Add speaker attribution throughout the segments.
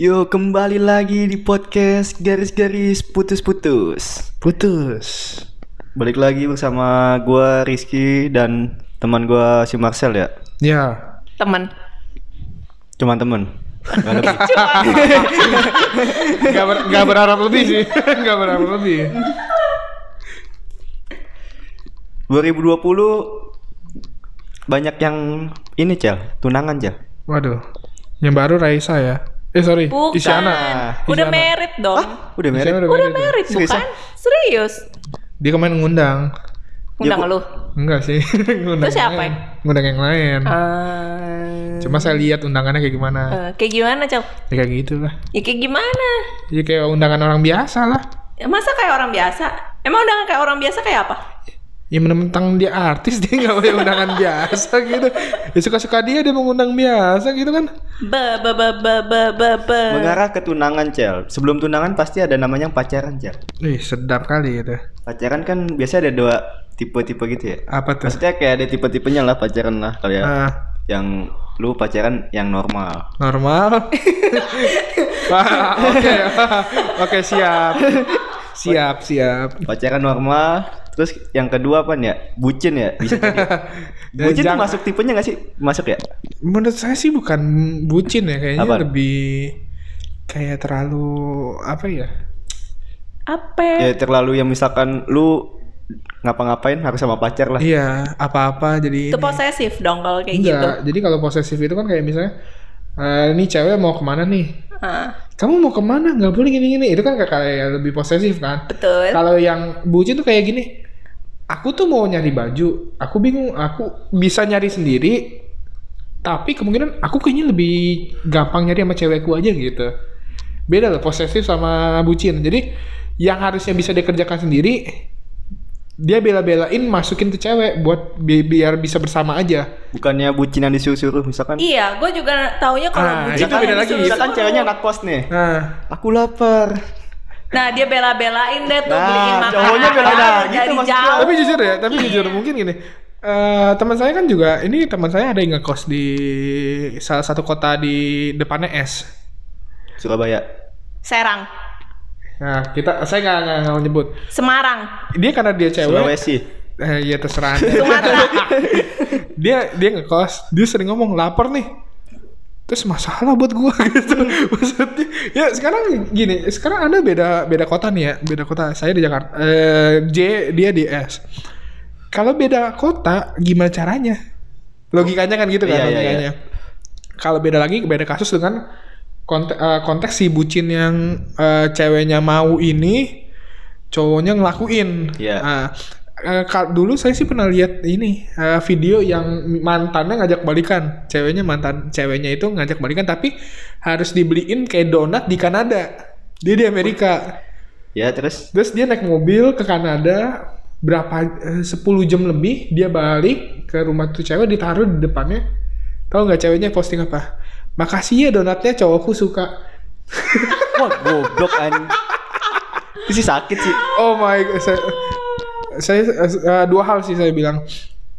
Speaker 1: Yuk kembali lagi di podcast garis-garis putus-putus.
Speaker 2: Putus.
Speaker 1: Balik lagi bersama gua Rizky dan teman gua si Marcel ya.
Speaker 2: Ya.
Speaker 3: teman
Speaker 1: Cuman temen. Nggak lebih.
Speaker 2: Gak, ber- gak berharap lebih sih. Gak berharap lebih.
Speaker 1: 2020 banyak yang ini cel tunangan cel.
Speaker 2: Waduh. Yang baru Raisa ya. Eh sorry.
Speaker 3: bukan
Speaker 2: Isyana.
Speaker 3: udah
Speaker 2: Isyana.
Speaker 3: merit dong
Speaker 1: Udah
Speaker 2: Isyana
Speaker 1: merit.
Speaker 2: udah
Speaker 3: udah
Speaker 2: married ya?
Speaker 1: Serius,
Speaker 3: merit bukan serius
Speaker 2: Dia kemarin ngundang.
Speaker 1: Ya,
Speaker 3: undang
Speaker 1: Bu.
Speaker 3: lu
Speaker 2: Enggak sih. ngundang
Speaker 3: Terus
Speaker 2: yang
Speaker 3: siapa ya?
Speaker 2: lain. Ngundang yang lain.
Speaker 3: Ah,
Speaker 2: Cuma saya lihat undangannya kayak gimana.
Speaker 3: eh, kayak gimana cel
Speaker 2: Ya kayak gitu lah.
Speaker 3: ya kayak gimana
Speaker 2: Ya kayak undangan orang biasa lah.
Speaker 3: Ya, masa kayak orang biasa emang undangan kayak orang biasa kayak apa
Speaker 2: Ya mentang dia artis dia nggak boleh undangan biasa gitu. Ya suka-suka dia dia mengundang biasa gitu kan.
Speaker 3: be be be be be be, be.
Speaker 1: Mengarah ke tunangan cel. Sebelum tunangan pasti ada namanya yang pacaran cel.
Speaker 2: Ih sedap kali gitu. itu.
Speaker 1: Pacaran kan biasa ada dua tipe-tipe gitu ya.
Speaker 2: Apa tuh?
Speaker 1: Maksudnya kayak ada tipe-tipenya lah pacaran lah kali ya.
Speaker 2: Ah,
Speaker 1: Yang lu pacaran yang normal.
Speaker 2: normal. Wah, oke. Oke, siap. Siap, siap.
Speaker 1: Pacaran kan normal. Terus yang kedua apa ya? Bucin ya bisa jadi.
Speaker 2: Ya,
Speaker 1: Bucin tuh
Speaker 2: jangan-
Speaker 1: masuk tipenya gak sih? Masuk ya?
Speaker 2: Menurut saya sih bukan bucin ya kayaknya
Speaker 1: Apa?
Speaker 2: lebih kayak terlalu apa ya?
Speaker 3: apa
Speaker 1: Ya terlalu yang misalkan lu ngapa-ngapain harus sama pacar lah.
Speaker 2: Iya, apa-apa jadi
Speaker 3: itu
Speaker 2: ini.
Speaker 3: posesif dong kalau kayak gitu
Speaker 2: Enggak, jadi kalau posesif itu kan kayak misalnya eh ini cewek mau kemana nih?
Speaker 3: Ah,
Speaker 2: Kamu mau kemana? Nggak boleh gini-gini. Itu kan kayak- kayak lebih posesif kan?
Speaker 3: betul
Speaker 2: Kalau yang bucin tuh kayak gini. Aku tuh mau nyari baju, aku bingung, aku bisa nyari sendiri. Tapi kemungkinan aku kayaknya lebih gampang nyari sama cewekku aja gitu. Beda loh posesif sama bucin. Jadi yang harusnya bisa dikerjakan sendiri dia bela-belain masukin ke cewek buat bi- biar bisa bersama aja.
Speaker 1: Bukannya bucin yang disuruh-suruh misalkan.
Speaker 3: iya gue juga taunya kalau
Speaker 2: Ah,
Speaker 3: bucin
Speaker 2: itu beda lagi.
Speaker 3: disuruh-suruh.
Speaker 1: Misalkan ceweknya anak kos nih.
Speaker 2: Nah,
Speaker 1: Aku lapar.
Speaker 3: Nah dia bela-belain deh tuh
Speaker 1: Nah,
Speaker 3: beliin makanan
Speaker 1: cowoknya belain. Nah, gitu
Speaker 3: dari
Speaker 1: maksudnya.
Speaker 3: jauh.
Speaker 2: tapi jujur ya, tapi jujur mungkin gini. eh teman saya kan juga ini teman saya ada yang ngekos di salah satu kota di depannya S.
Speaker 1: Surabaya.
Speaker 3: Serang,
Speaker 2: Nah, kita saya nggak nggak- nggak mau nyebut.
Speaker 3: Semarang,
Speaker 2: Dia karena dia cewek,
Speaker 1: Sulawesi.
Speaker 2: eh, ya terserah. Anda.
Speaker 3: Sumatera.
Speaker 2: dia dia ngekos, dia sering ngomong lapar nih. Terus masalah buat gua gitu. Maksudnya ya sekarang gini, sekarang Anda beda beda kota nih ya, beda kota. Saya di Jakarta. Eh, J dia di S. Kalau beda kota gimana caranya? Logikanya kan gitu kan
Speaker 1: Iya, iya,
Speaker 2: logikanya.
Speaker 1: iya.
Speaker 2: Kalau beda lagi beda kasus dengan konte- eh, konteks si bucin yang eh, ceweknya mau ini cowoknya ngelakuin.
Speaker 1: Iya.
Speaker 2: Nah, eh, kal- dulu saya sih pernah lihat ini eh, video yang mantannya ngajak balikan, ceweknya mantan ceweknya itu ngajak balikan tapi harus dibeliin kayak donat di Kanada. Dia di Amerika.
Speaker 1: Ya terus
Speaker 2: Terus dia naik mobil ke Kanada berapa eh, 10 jam lebih dia balik ke rumah tuh cewek ditaruh di depannya. Tahu nggak ceweknya posting apa? Makasih ya donatnya cowokku suka.
Speaker 1: wah goblok an. Itu sih sakit sih.
Speaker 2: Oh my god, saya, saya eh, dua hal sih saya bilang.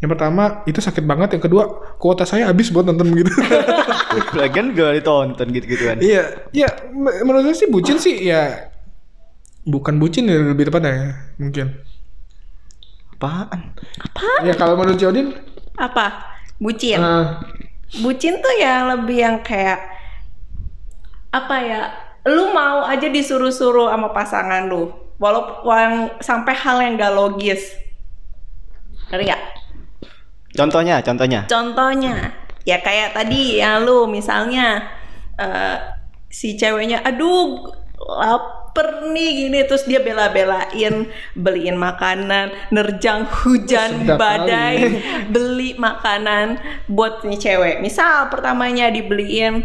Speaker 2: Yang pertama itu sakit banget, yang kedua kuota saya habis buat nonton gitu. begitu.
Speaker 1: Lagian gak ditonton gitu-gituan.
Speaker 2: Iya, ya me- menurut saya sih bucin sih ya bukan bucin ya lebih tepatnya ya, mungkin.
Speaker 1: Apaan?
Speaker 2: Ya kalau menurut Jodin,
Speaker 3: apa? Bucin.
Speaker 2: eh,
Speaker 3: Bucin tuh ya lebih yang kayak apa ya? Lu mau aja disuruh-suruh sama pasangan lu, walaupun sampai hal yang gak logis. Ngerti nggak?
Speaker 1: Contohnya, contohnya.
Speaker 3: Contohnya, ya kayak tadi yang lu misalnya eh, si ceweknya, aduh lapar nih gini terus dia bela-belain beliin makanan nerjang hujan
Speaker 2: Sedap
Speaker 3: badai beli makanan buat nih cewek misal pertamanya dibeliin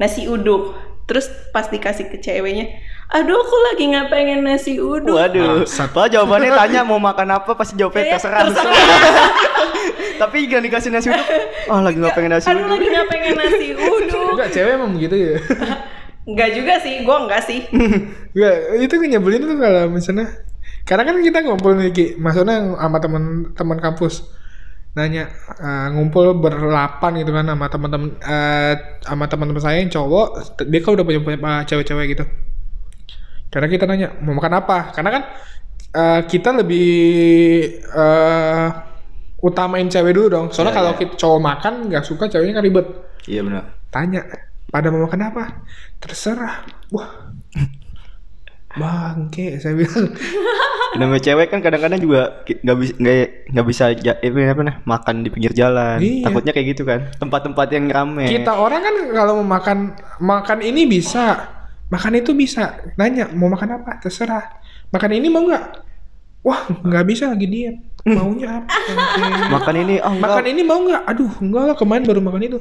Speaker 3: nasi uduk terus pas dikasih ke ceweknya aduh aku lagi nggak pengen nasi uduk
Speaker 1: Waduh,
Speaker 2: Bangsat.
Speaker 1: Padahal jawabannya tanya mau makan apa pasti jawabnya
Speaker 3: Iya,
Speaker 1: terserah.
Speaker 3: terserah.
Speaker 1: Tapi gak dikasih nasi uduk. Oh lagi gak pengen nasi
Speaker 3: aduh
Speaker 1: uduk.
Speaker 3: lagi nggak pengen nasi uduk
Speaker 2: enggak cewek emang begitu ya.
Speaker 3: nggak juga sih gua nggak sih
Speaker 2: Enggak, itu nyebelin tuh kalau misalnya karena kan kita ngumpul nih Ki, maksudnya sama teman-teman kampus. nanya eh, ngumpul berlapan gitu kan sama teman-teman eh, sama teman-teman saya yang cowok dia kan udah punya punya eh, cewek-cewek gitu karena kita nanya mau makan apa karena kan eh, kita lebih eh, utamain cewek dulu dong
Speaker 1: Iya,
Speaker 2: soalnya kalau
Speaker 1: iya.
Speaker 2: kita cowok makan nggak suka ceweknya kan ribet
Speaker 1: Iya benar.
Speaker 2: tanya pada mau makan apa terserah wah bangke saya bilang
Speaker 1: Namanya cewek kan kadang-kadang juga ki- nggak bisa nggak nggak bisa ja- eh, apa nah, makan di pinggir jalan.
Speaker 2: Iya.
Speaker 1: Takutnya kayak gitu kan. Tempat-tempat yang rame.
Speaker 2: kita orang kan kalau mau makan makan ini bisa makan itu bisa nanya mau makan apa terserah makan ini mau nggak wah nggak bisa lagi diet maunya apa Oke.
Speaker 1: Makan ini oh enggak.
Speaker 2: makan ini mau nggak aduh enggak lah kemarin baru makan itu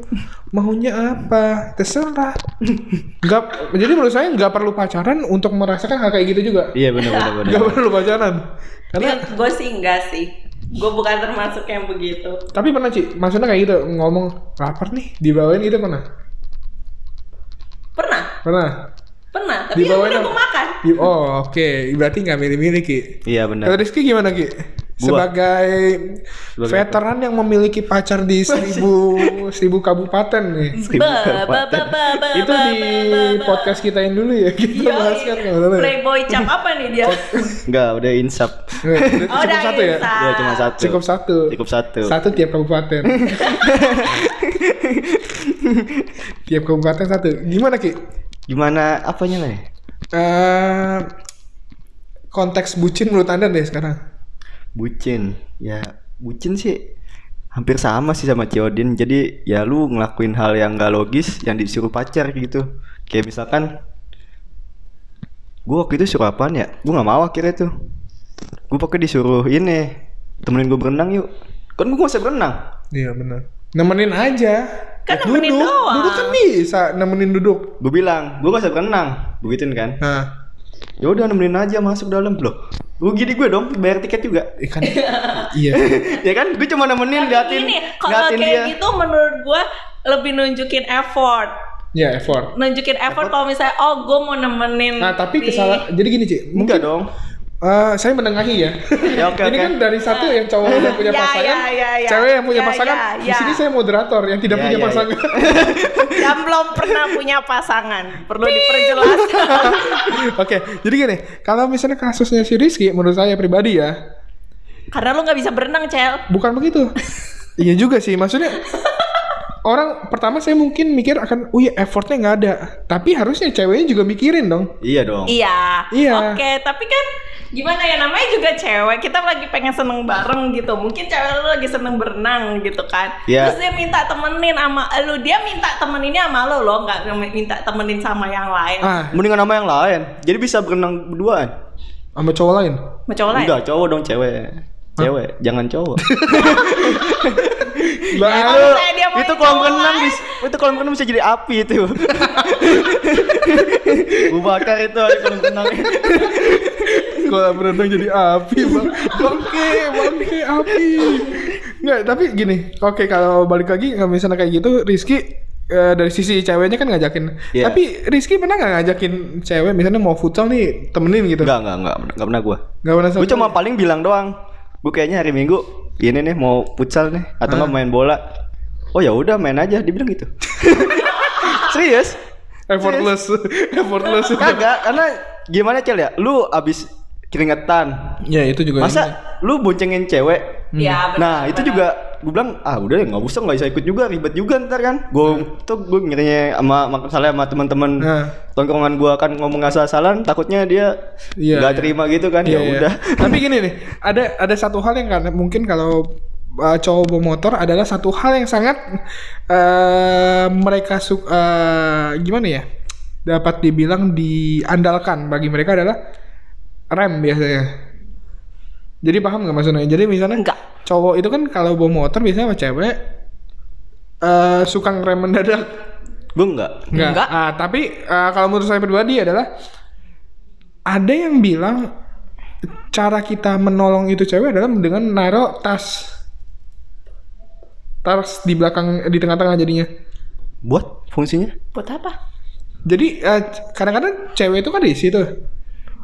Speaker 2: maunya apa terserah nggak jadi menurut saya nggak perlu pacaran untuk merasakan hal kayak gitu juga
Speaker 1: Iya benar benar benar.
Speaker 2: nggak perlu pacaran karena
Speaker 3: gue sih enggak sih. Gue bukan termasuk yang begitu.
Speaker 2: Tapi pernah Ci, maksudnya kayak gitu ngomong lapar nih dibawain gitu pernah?
Speaker 3: Pernah,
Speaker 2: Pernah.
Speaker 3: pernah. Tapi ya
Speaker 2: Dibawain
Speaker 3: udah
Speaker 2: apa?
Speaker 3: gue makan.
Speaker 2: Di- Oh oke, berarti nggak milih-milih Ki.
Speaker 1: Iya benar.
Speaker 2: Kalau Rizky gimana Ki?
Speaker 1: Gua.
Speaker 2: Sebagai,
Speaker 1: Sebagai
Speaker 2: veteran yang memiliki pacar di seribu seribu kabupaten nih.
Speaker 1: Seribu
Speaker 3: Ba, ba, ba,
Speaker 1: kabupaten.
Speaker 3: ba, ba,
Speaker 2: Itu
Speaker 3: ba,
Speaker 2: di
Speaker 3: ba, ba, ba.
Speaker 2: podcast kitain dulu ya kita
Speaker 3: Yoi.
Speaker 2: bahas kan nggak apa-apa ya?
Speaker 3: Playboy cap apa nih dia?
Speaker 1: Enggak, udah insap.
Speaker 2: Nggak, berarti
Speaker 3: Oh,
Speaker 2: cukup
Speaker 3: udah
Speaker 2: satu ya?
Speaker 3: insaf.
Speaker 1: Udah cuma satu.
Speaker 2: Cukup satu.
Speaker 1: Cukup satu.
Speaker 2: Satu tiap kabupaten. tiap kabupaten satu. Gimana Ki?
Speaker 1: Gimana apanya nih?
Speaker 2: Eh, konteks bucin menurut anda deh sekarang
Speaker 1: Bucin. Ya, bucin sih hampir sama sih sama Ciodin. Jadi ya lu ngelakuin hal yang gak logis yang disuruh pacar gitu. Kayak misalkan gua waktu itu suruh apaan ya? Gua nggak mau akhirnya tuh. Gua pakai disuruh ini temenin gua berenang yuk. Kan gua nggak bisa berenang.
Speaker 2: iya benar nemenin aja
Speaker 3: Kan
Speaker 2: duduk
Speaker 3: nemenin doang.
Speaker 2: duduk kan bisa nemenin duduk
Speaker 1: Gua bilang, gua nggak bisa berenang. Begituin kan.
Speaker 2: nah
Speaker 1: Ya udah nemenin aja masuk dalam loh. Gua gini gue dong bayar tiket juga.
Speaker 2: ikan iya
Speaker 1: ya kan gue cuma nemenin liatin
Speaker 3: Ini kalau
Speaker 1: liatin
Speaker 3: kayak
Speaker 1: dia
Speaker 3: gitu menurut gue lebih nunjukin effort.
Speaker 2: ya effort
Speaker 3: Nunjukin effort kalau misalnya oh gue mau nemenin.
Speaker 2: nah tapi
Speaker 3: si-
Speaker 2: kesalahan jadi gini Ci
Speaker 1: enggak
Speaker 2: mungkin
Speaker 1: dong
Speaker 2: eh, saya menengahi ya
Speaker 1: Ya, oke,
Speaker 2: ini
Speaker 1: oke.
Speaker 2: kan dari satu yang cowok udah punya
Speaker 3: Ya,
Speaker 2: pasangan
Speaker 3: ya, ya, ya.
Speaker 2: cewek yang punya
Speaker 3: Ya,
Speaker 2: pasangan
Speaker 3: ya,
Speaker 2: di
Speaker 3: ya.
Speaker 2: sini saya moderator yang tidak
Speaker 1: Ya, ya,
Speaker 2: punya
Speaker 1: ya.
Speaker 2: pasangan
Speaker 3: yang belum pernah punya pasangan perlu diperjelas
Speaker 2: oke jadi gini kalau misalnya kasusnya si Rizky menurut saya pribadi ya
Speaker 3: karena lu nggak bisa berenang cel
Speaker 2: Bukan begitu. iya juga sih, maksudnya orang pertama saya mungkin mikir akan, oh iya effortnya nggak ada. Tapi harusnya ceweknya juga mikirin dong.
Speaker 1: iya dong
Speaker 3: iya
Speaker 2: Iya.
Speaker 3: oke tapi kan gimana ya namanya juga cewek kita lagi pengen seneng bareng gitu mungkin cewek lu lagi seneng berenang gitu kan
Speaker 1: Iya.
Speaker 3: terus dia minta temenin sama lu dia minta temeninnya sama lu lo nggak minta temenin sama yang lain
Speaker 2: Ah,
Speaker 1: mendingan nama yang lain jadi bisa berenang berduaan
Speaker 2: sama cowok lain.
Speaker 3: sama cowok lain
Speaker 1: enggak cowok dong cewek cewek jangan cowok
Speaker 2: Lah,
Speaker 3: Kalau misalnya dia mau
Speaker 1: itu
Speaker 3: yang
Speaker 1: kolam
Speaker 3: cowok
Speaker 1: renang
Speaker 3: lain,
Speaker 1: bis- itu kolam renang bisa jadi api itu gue bakar itu aja kolam renangnya
Speaker 2: Kalau berenang jadi api, bang. Bangke, bangke api. Nggak, tapi gini. Oke, kalau balik lagi kalau misalnya kayak gitu, Rizky eh, dari sisi ceweknya kan ngajakin.
Speaker 1: Iya.
Speaker 2: Tapi Rizky pernah nggak ngajakin cewek misalnya mau futsal nih temenin gitu?
Speaker 1: enggak enggak enggak enggak pernah gue
Speaker 2: Nggak pernah sama
Speaker 1: gue cuma paling bilang doang gue kayaknya hari minggu ini nih mau futsal nih atau nggak main bola oh ya udah main aja dibilang gitu serius
Speaker 2: effortless, effortless.
Speaker 1: Kagak, karena gimana cel ya? Lu abis keringetan,
Speaker 2: Ya itu juga. ini.
Speaker 1: masa lu boncengin cewek?
Speaker 3: ya benar,
Speaker 1: Nah itu
Speaker 3: benar.
Speaker 1: juga gue bilang ah udah ya nggak usah nggak bisa ikut juga ribet juga ntar kan gue tuh gue ngirinya sama masalah sama teman-teman
Speaker 2: Nah.
Speaker 1: tongkrongan gue akan ngomong asal-asalan takutnya dia
Speaker 2: Iya,
Speaker 1: nggak
Speaker 2: iya.
Speaker 1: terima gitu kan
Speaker 2: Iya,
Speaker 1: ya
Speaker 2: iya.
Speaker 1: udah
Speaker 2: Tapi gini nih, ada ada satu hal yang karena mungkin kalau uh, cowok bawa motor adalah satu hal yang sangat eh mereka suka gimana ya? Dapat dibilang diandalkan bagi mereka adalah rem biasanya. Jadi paham nggak maksudnya? Jadi misalnya
Speaker 3: Nggak.
Speaker 2: cowok itu kan kalau bawa motor biasanya sama cewek eh suka ngerem mendadak.
Speaker 1: gue nggak
Speaker 2: Nggak.
Speaker 3: Nggak.
Speaker 2: Ah, tapi ah, kalau menurut saya pribadi adalah ada yang bilang cara kita menolong itu cewek adalah dengan naruh tas tas di belakang di tengah-tengah jadinya.
Speaker 1: buat fungsinya
Speaker 3: buat apa
Speaker 2: Jadi eh, kadang-kadang cewek itu kan di situ.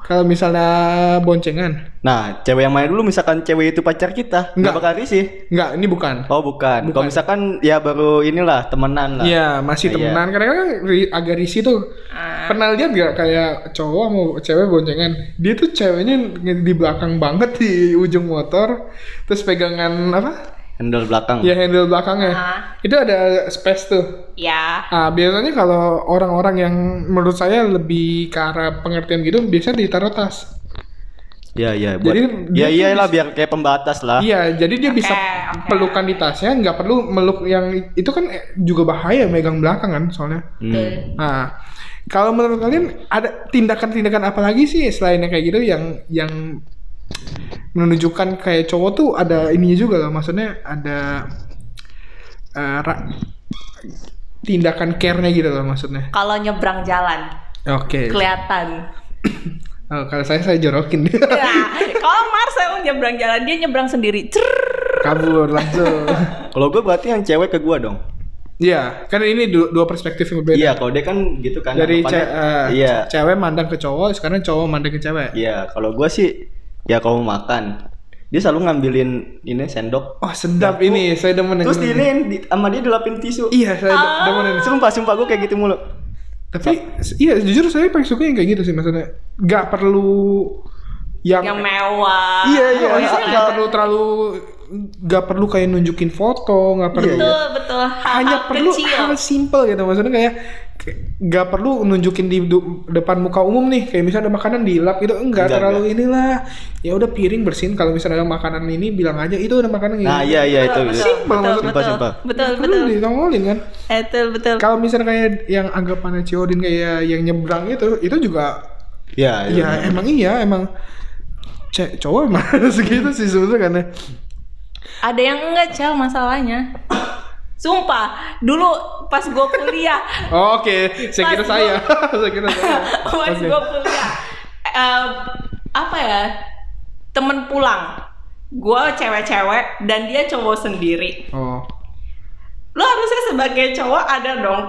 Speaker 2: Kalau misalnya boncengan,
Speaker 1: Nah, cewek yang main dulu misalkan cewek itu pacar kita, nggak
Speaker 2: Nggak.
Speaker 1: bakal risih.
Speaker 2: nggak ini bukan.
Speaker 1: Oh, bukan. Kalau
Speaker 2: Bukan.
Speaker 1: misalkan ya baru inilah temenan lah.
Speaker 2: Iya,
Speaker 1: Nah, iya.
Speaker 2: masih temenan. Kadang-kadang kan ri- agak risih tuh.
Speaker 3: Ah.
Speaker 2: Pernah lihat gak kayak cowok mau cewek boncengan? Dia tuh ceweknya nge- di belakang banget di ujung motor, terus pegangan apa?
Speaker 1: Handle belakang.
Speaker 2: Ya handle belakangnya.
Speaker 3: Ah.
Speaker 2: Itu ada space tuh.
Speaker 3: ya
Speaker 2: Ah, biasanya kalau orang-orang yang menurut saya lebih ke arah pengertian gitu, biasanya ditaruh tas.
Speaker 1: Iya, iya.
Speaker 2: Jadi
Speaker 1: Buat-
Speaker 2: dia
Speaker 1: ya
Speaker 2: tuh
Speaker 1: iyalah biar kayak pembatas lah.
Speaker 2: Iya, jadi dia bisa
Speaker 3: Ah. Oke, oke.
Speaker 2: pelukan di tasnya, nggak perlu meluk yang itu kan eh, juga bahaya megang belakang kan soalnya.
Speaker 1: Hmm.
Speaker 2: Nah, kalau menurut kalian ada tindakan-tindakan apa lagi sih selain yang kayak gitu yang yang menunjukkan kayak cowok tuh ada ininya juga lah, maksudnya ada eh, ra- tindakan care-nya gitu loh maksudnya.
Speaker 3: kalau nyebrang jalan
Speaker 2: Oke.
Speaker 3: kelihatan
Speaker 2: Oh, kalau saya saya jorokin
Speaker 3: Nah, kalau Marcel nyebrang jalan dia nyebrang sendiri Cerrrr.
Speaker 2: kabur langsung.
Speaker 1: Kalau gue berarti yang cewek ke gue dong.
Speaker 2: Iya, karena ini du- dua perspektif yang berbeda.
Speaker 1: Iya, kalau dia kan gitu kan.
Speaker 2: Dari ce-
Speaker 1: anggapannya-
Speaker 2: eh,
Speaker 1: Iya.
Speaker 2: cewek mandang ke cowok, sekarang cowok mandang ke cewek.
Speaker 1: Iya, kalau gue sih ya kalau mau makan dia selalu ngambilin ini sendok.
Speaker 2: Oh, sedap ini, saya demen yang
Speaker 1: Terus
Speaker 2: ini.
Speaker 1: di ini Ah. di, sama dia dilapin tisu.
Speaker 2: Iya, saya de- demen yang ini.
Speaker 1: Sumpah, sumpah gue kayak gitu mulu.
Speaker 2: Tapi s- iya jujur saya paling suka yang kayak gitu sih maksudnya. Gak perlu yang, eh,
Speaker 3: yang mewah
Speaker 2: Iya, iya,
Speaker 3: Oh,
Speaker 2: maksudnya
Speaker 3: kan?
Speaker 2: gak perlu terlalu gak perlu kayak nunjukin foto, gak perlu.
Speaker 3: betul betul Hal-hal
Speaker 2: Hanya perlu
Speaker 3: kecil
Speaker 2: hal simple gitu maksudnya kayak kayak gak perlu nunjukin di du- depan muka umum nih kayak misalnya ada makanan dilap gitu enggak,
Speaker 1: Enggak,
Speaker 2: terlalu inilah ya udah piring bersihin kalau misalnya ada makanan ini bilang aja itu ada makanan ini
Speaker 1: Nah, iya iya itu.
Speaker 3: betul,
Speaker 1: itu.
Speaker 2: Simpel,
Speaker 3: betul,
Speaker 2: maksudnya.
Speaker 1: Simpel,
Speaker 3: betul,
Speaker 1: simpel.
Speaker 3: betul
Speaker 2: Nggak perlu
Speaker 3: betul
Speaker 2: ditongolin kan
Speaker 3: Eh, betul betul
Speaker 2: kalau misalnya kayak yang anggapannya Ciodin kayak yang nyebrang itu itu juga
Speaker 1: Iya, iya.
Speaker 2: ya emang iya emang cek cowok emang segitu sih sebenarnya karena
Speaker 3: ada yang enggak cel masalahnya sumpah dulu pas gue kuliah
Speaker 2: oh, oke saya kira
Speaker 3: Pas
Speaker 2: saya saya kira saya
Speaker 3: pas
Speaker 2: Oke.
Speaker 3: gue kuliah eh, apa ya temen pulang gue cewek-cewek dan dia cowok sendiri
Speaker 2: oh
Speaker 3: lo harusnya sebagai cowok ada dong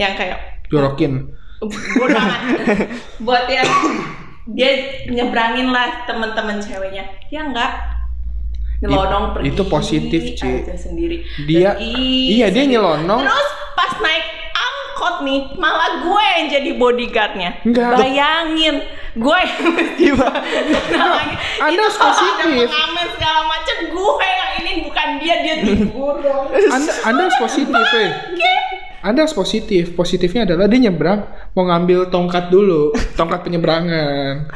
Speaker 3: yang kayak
Speaker 2: jorokin
Speaker 3: bodohan buat yang dia nyebrangin lah temen-temen ceweknya dia enggak nyelonong pergi
Speaker 2: itu positif, Ci.
Speaker 3: aja sendiri
Speaker 2: Dia-
Speaker 3: Pergi
Speaker 2: iya, dia
Speaker 3: sendiri.
Speaker 2: nyelonong.
Speaker 3: terus pas naik angkot nih malah gue yang jadi bodyguardnya
Speaker 2: Enggak. Iya.
Speaker 3: bayangin gue yang mesti Nah,
Speaker 2: Anda
Speaker 3: itu kalau ada
Speaker 2: positif.
Speaker 3: pengamen segala macam gue yang ini bukan dia dia
Speaker 2: Hmm.
Speaker 3: digorong
Speaker 2: anda anda harus positif eh anda harus positif positifnya adalah dia nyebrang mau ngambil tongkat dulu tongkat penyeberangan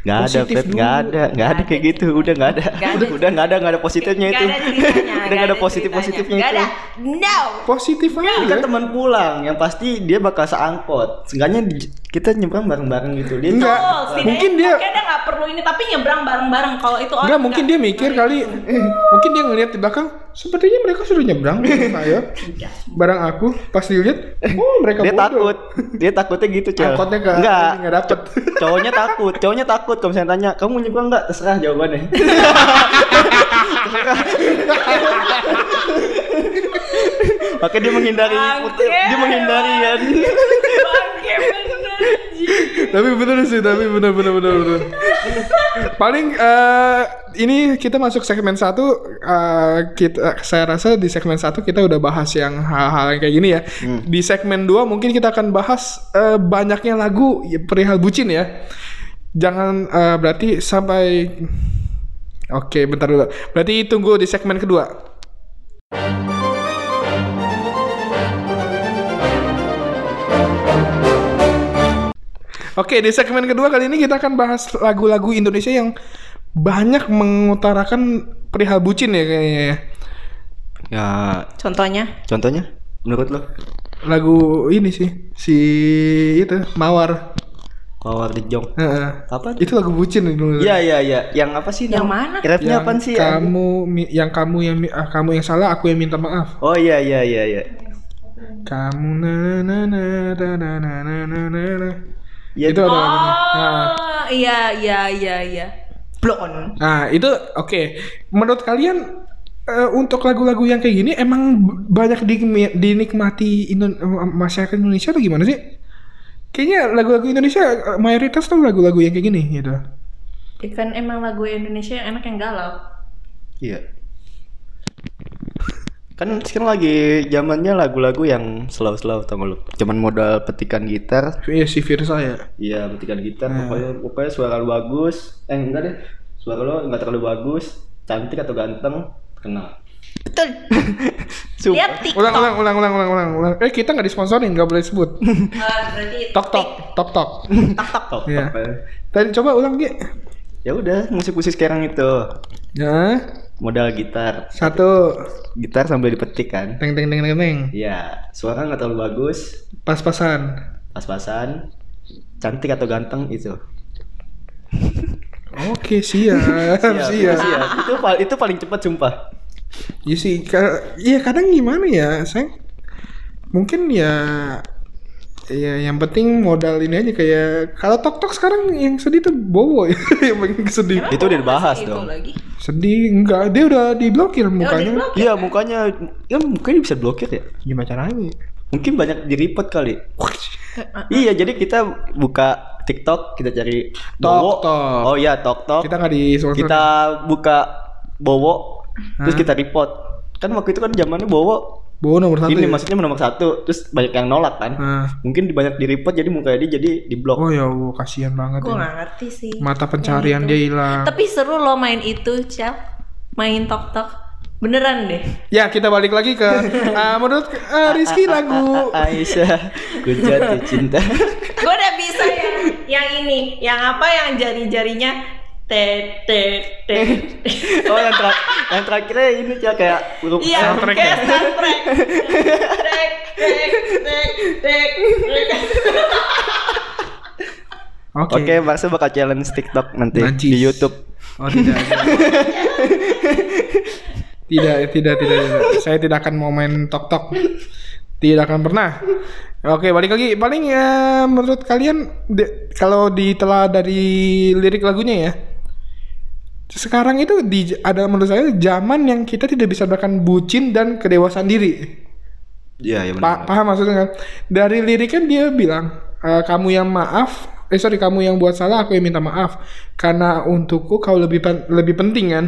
Speaker 1: Nggak ada,
Speaker 2: Positif
Speaker 1: Fred,
Speaker 2: dulu.
Speaker 1: nggak ada, nggak ada
Speaker 3: Nggak
Speaker 1: kayak
Speaker 3: ada.
Speaker 1: gitu, udah nggak ada,
Speaker 3: Nggak ada.
Speaker 1: udah nggak ada, nggak ada positifnya itu,
Speaker 3: Gak ada ceritanya,
Speaker 1: udah nggak ada positif positifnya
Speaker 3: Gak
Speaker 1: itu.
Speaker 3: ada, no
Speaker 2: positif
Speaker 3: Iya,
Speaker 1: Ini kan
Speaker 2: aja
Speaker 1: teman pulang, yang pasti dia bakal seangkot. Seenggaknya di- kita nyebrang bareng-bareng gitu. Dia
Speaker 2: Enggak.
Speaker 3: Betul, Oh, setidaknya
Speaker 2: Mungkin dia-
Speaker 3: makanya dia nggak perlu ini tapi nyebrang bareng-bareng kalau itu orang gitu.
Speaker 2: Enggak, mungkin dia mikir kali, eh, mungkin dia ngelihat di belakang, sepertinya mereka sudah nyebrang bareng saya, barang aku, pas dilihat, oh mereka
Speaker 1: Eh, dia
Speaker 2: bodoh.
Speaker 1: takut. Dia takutnya gitu, Cel.
Speaker 2: Angkotnya ke-
Speaker 1: Enggak.
Speaker 2: nggak dapet.
Speaker 1: Cowoknya takut. Cowoknya takut kalau misalnya tanya, "Kamu mau nyebrang enggak?" Terserah jawabannya. Terserah. Makanya dia menghindari
Speaker 3: Bangke.
Speaker 1: dia menghindari kan.
Speaker 3: Bangke, bener, Ji.
Speaker 2: tapi bener sih tapi bener bener bener bener paling eh, ini kita masuk segmen satu eh, kita saya rasa di segmen satu kita udah bahas yang hal-hal yang kayak gini ya di segmen 2 mungkin kita akan bahas eh, banyaknya lagu ya, perihal bucin ya jangan eh, berarti sampai oke bentar dulu berarti tunggu di segmen kedua Oke, di segmen kedua kali ini kita akan bahas lagu-lagu Indonesia yang banyak mengutarakan perihal bucin ya kayaknya. ya.
Speaker 1: Ya,
Speaker 3: Contohnya
Speaker 1: contohnya menurut lo?
Speaker 2: Lagu ini sih, si itu Mawar.
Speaker 1: Mawar Dijong.
Speaker 2: Heeh.
Speaker 1: Apa?
Speaker 2: Itu lagu bucin dulu.
Speaker 1: Iya, iya, iya. Yang apa sih?
Speaker 3: Yang
Speaker 1: nama-
Speaker 3: mana?
Speaker 1: Rapnya
Speaker 2: Yang
Speaker 1: apaan sih? Ya?
Speaker 2: Kamu mi- yang kamu yang mi- ah, kamu yang salah, aku yang minta maaf.
Speaker 1: Oh iya, iya, iya, iya.
Speaker 2: Kamu na na na na na na na na na na.
Speaker 1: Ya,
Speaker 2: Itu ada lagunya. Nah.
Speaker 3: Oh iya iya iya iya Blon
Speaker 2: Nah, itu oke. Menurut kalian eh, untuk lagu-lagu yang kayak gini emang b- banyak dinikmi- dinikmati Indo- em, masyarakat Indonesia atau gimana sih? Kayaknya lagu-lagu Indonesia eh, mayoritas tuh lagu-lagu yang kayak gini gitu.
Speaker 3: Ya kan emang lagu Indonesia yang enak yang galau.
Speaker 1: Iya. Kan sekarang lagi zamannya lagu-lagu yang slow-slow tau nggak lu. Cuman modal petikan gitar.
Speaker 2: Iya si Firsa ya.
Speaker 1: Iya, petikan gitar
Speaker 2: Hmm.
Speaker 1: pokoknya pokoknya suara lu bagus. Eh enggak deh. Suara lu enggak terlalu bagus, cantik atau ganteng, kenal.
Speaker 3: Betul.
Speaker 1: Sumpah.
Speaker 3: Lihat TikTok.
Speaker 2: Ulang, ulang, ulang, ulang, ulang, ulang, ulang. Eh kita nggak disponsorin, nggak boleh sebut.
Speaker 3: Ah, berarti
Speaker 2: Tok tok, tok tok.
Speaker 3: Tok tok.
Speaker 1: Top,
Speaker 2: Iya.
Speaker 1: top, eh.
Speaker 2: Tadi coba ulang Gi.
Speaker 1: Ya udah, musik-musik sekarang itu
Speaker 2: Ya,
Speaker 1: modal gitar.
Speaker 2: satu.
Speaker 1: Gitar sambil dipetik kan.
Speaker 2: Teng teng teng teng teng.
Speaker 1: Iya, suara nggak terlalu bagus,
Speaker 2: Pas-pasan.
Speaker 1: pas-pasan, cantik atau ganteng itu.
Speaker 2: Oke siap,
Speaker 1: Iya,
Speaker 2: siap.
Speaker 1: siap. Itu pal- itu paling cepat sumpah.
Speaker 2: Iya sih, ka- iya kadang gimana ya, saya mungkin ya ya yang penting modal ini aja kayak kalau tok tok sekarang yang sedih tuh bowo ya yang paling sedih
Speaker 1: Itu udah dibahas
Speaker 3: Masih Iya, itu
Speaker 1: dong.
Speaker 3: Lagi. Oh,
Speaker 2: sedih enggak dia udah diblokir mukanya
Speaker 3: diblokir.
Speaker 1: Iya, mukanya ya mukanya bisa blokir ya.
Speaker 2: gimana caranya
Speaker 1: Mungkin banyak di report kali. iya, jadi kita buka TikTok, kita cari Bowo.
Speaker 2: Tok.
Speaker 1: Oh iya, Tok Tok.
Speaker 2: kita nggak di
Speaker 1: Kita buka Bowo, terus kita report. Kan waktu itu kan zamannya Bowo
Speaker 2: bowo nomor satu
Speaker 1: ini
Speaker 2: ya?
Speaker 1: maksudnya nomor satu, terterus banyak yang nolak kan.
Speaker 2: Nah.
Speaker 1: Mungkin di- banyak di report jadi mukanya dia jadi di blok.
Speaker 2: oh ya Allah, kasihan banget
Speaker 3: Gue
Speaker 2: ya.
Speaker 3: nggak ngerti sih.
Speaker 2: mata pencarian dia hilang
Speaker 3: Tapi seru lo main itu, Cel. Main tok tok. Beneran deh.
Speaker 2: ya kita balik lagi ke ah, menurut ah, Rizky lagu
Speaker 1: Ah, Aisyah, ku jatuh cinta.
Speaker 3: Gue udah bisa yang yang ini, yang apa yang jari-jarinya te te te.
Speaker 1: Oh yang terakhir, yang terakhirnya ini Cel, kayak huruf
Speaker 3: Iya,
Speaker 2: Soundtrack
Speaker 3: kayak
Speaker 2: ya?
Speaker 3: soundtrack. Tek tek tek tek. tek.
Speaker 2: oke
Speaker 1: Oke, Barca bakal challenge TikTok nanti
Speaker 2: Najis.
Speaker 1: di YouTube.
Speaker 2: Oh tidak. tidak. tidak, tidak, tidak, tidak. Saya tidak akan mau main tok tok. Tidak akan pernah. Oke, balik lagi. Paling ya menurut kalian di- kalau ditelah dari lirik lagunya ya. Sekarang itu di ada menurut saya zaman yang kita tidak bisa bahkan bucin dan kedewasaan diri.
Speaker 1: Iya, ya
Speaker 2: Pa- paham maksudnya kan? Dari liriknya dia bilang "Eh, kamu yang maaf, eh sorry kamu yang buat salah aku yang minta maaf karena untukku kau lebih pen- lebih penting kan.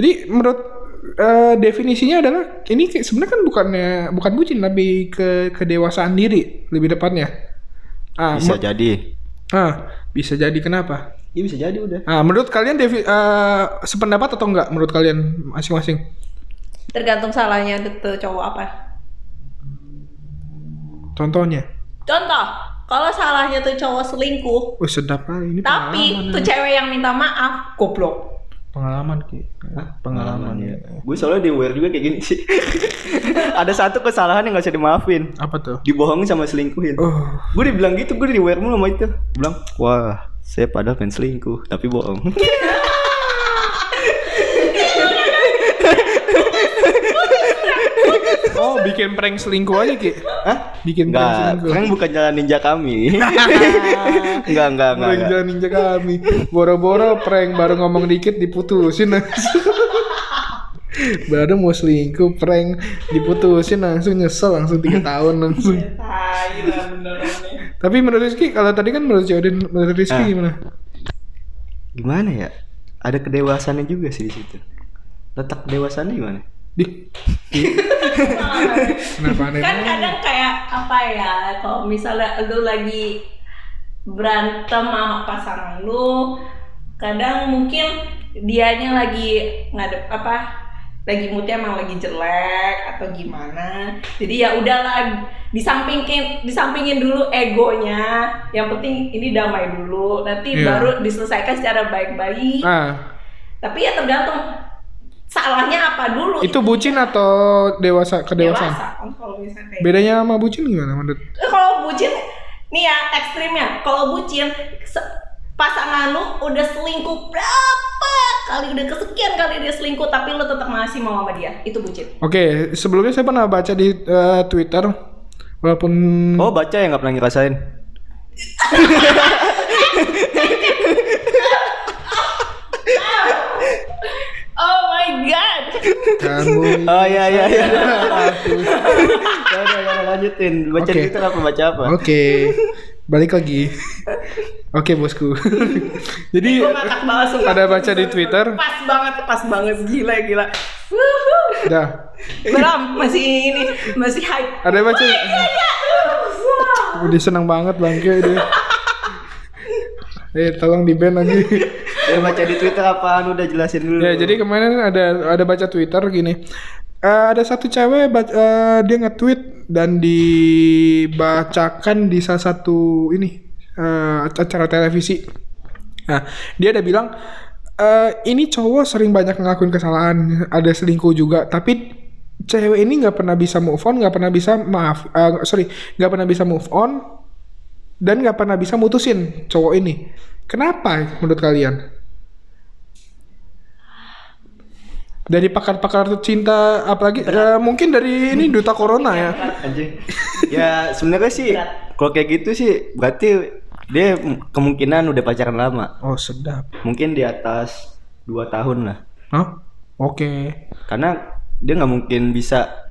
Speaker 2: Jadi menurut eh, definisinya adalah ini kayak- sebenarnya kan bukannya bukan bucin lebih ke kedewasaan diri lebih tepatnya. Ah,
Speaker 1: Bisa
Speaker 2: mu-
Speaker 1: jadi.
Speaker 2: ah, bisa jadi kenapa?
Speaker 1: Iya bisa jadi udah.
Speaker 2: Ah, menurut kalian devi- eh, sependapat atau enggak menurut kalian masing-masing?
Speaker 3: Tergantung salahnya tuh cowok apa.
Speaker 2: Contohnya.
Speaker 3: Contoh, kalau salahnya tuh cowok selingkuh,
Speaker 2: Wih sedap kali ini pengalaman. ya?
Speaker 3: tapi tuh cewek yang minta maaf, goblok.
Speaker 2: pengalaman Ki. pengalaman ya.
Speaker 1: Gue soalnya di aware juga kayak gini sih. Ada satu kesalahan yang gak bisa dimaafin.
Speaker 2: apa tuh
Speaker 1: Dibohongin sama selingkuhin.
Speaker 2: oh
Speaker 1: Gue dibilang gitu, gue di aware mulu sama itu. Bilang, wah, saya padahal pengen selingkuh, tapi bohong.
Speaker 2: oh bikin prank selingkuh aja ki
Speaker 1: Hah?
Speaker 2: bikin prank
Speaker 1: Enggak,
Speaker 2: selingkuh
Speaker 1: kan bukan jalan ninja kami. enggak, enggak, enggak.
Speaker 2: Prank
Speaker 1: enggak.
Speaker 2: jalan ninja kami boro-boro prank baru ngomong dikit diputusin langsung baru mau selingkuh prank diputusin langsung nyesel langsung tiga tahun langsung
Speaker 3: Tai lah beneran.
Speaker 2: tapi menurut Rizky kalau tadi kan menurut Jordan menurut Rizky
Speaker 1: Ah.
Speaker 2: gimana
Speaker 1: Gimana ya? Ada kedewasannya juga sih di situ. Letak kedewasannya gimana?
Speaker 2: di kenapa aneh
Speaker 3: kan kadang kayak apa ya kalau misalnya lu lagi berantem sama pasangan lu kadang mungkin dianya lagi ngadep apa lagi moodnya emang lagi jelek atau gimana jadi ya udahlah disampingin disampingin dulu egonya yang penting ini damai dulu nanti
Speaker 2: Iya.
Speaker 3: baru diselesaikan secara baik-baik
Speaker 2: ah
Speaker 3: tapi ya tergantung salahnya apa dulu
Speaker 2: itu bucin atau dewasa kedewasaan
Speaker 3: dewasa kan kalau misalnya kayak
Speaker 2: bedanya sama bucin gimana menurut
Speaker 3: Eh, kalau bucin nih ya ekstrimnya kalau bucin se- pasangan lu udah selingkuh berapa kali udah kesekian kali dia selingkuh tapi lu tetap masih mau sama dia itu bucin
Speaker 2: Oke, sebelumnya saya pernah baca di eh, Twitter walaupun
Speaker 1: Oh, baca yang nggak pernah ngerasain.
Speaker 3: oh my god
Speaker 2: kamu
Speaker 1: Oh iya iya iya.
Speaker 2: aku.
Speaker 1: Ya udah, ya udah, lanjutin. Baca
Speaker 2: Oke.
Speaker 1: Twitter apa baca apa?
Speaker 2: Oke. balik lagi. Oke bosku. Jadi
Speaker 3: Gua ngakak banget sumpah.
Speaker 2: Iya. Ada baca di Twitter.
Speaker 3: Pas banget, pas banget gila gila. Wuhu.
Speaker 2: dah
Speaker 3: Belum, masih ini, masih hype.
Speaker 2: ada baca.
Speaker 3: Iya, iya. Wah.
Speaker 2: Udah senang banget bangke dia. Eh tolong di ban lagi.
Speaker 1: Ya baca di Twitter apaan udah jelasin dulu.
Speaker 2: Ya jadi kemarin ada ada baca Twitter gini. Eh, ada satu cewek ba- eh, dia nge-tweet dan dibacakan di salah satu ini eh, acara televisi. Nah, dia ada bilang "Eh, ini cowok sering banyak ngelakuin kesalahan, ada selingkuh juga, tapi cewek ini nggak pernah bisa move on, nggak pernah bisa maaf, eh, sorry, nggak pernah bisa move on dan nggak pernah bisa mutusin cowok ini. Kenapa menurut kalian? dari pakar-pakar cinta apalagi eh, mungkin dari ini duta corona ya
Speaker 1: anjing. Ya sebenarnya sih
Speaker 3: Berat.
Speaker 1: kalau kayak gitu sih berarti dia kemungkinan udah pacaran lama.
Speaker 2: oh sedap
Speaker 1: Mungkin di atas 2 tahun lah.
Speaker 2: Hah? oke
Speaker 1: karena dia nggak mungkin bisa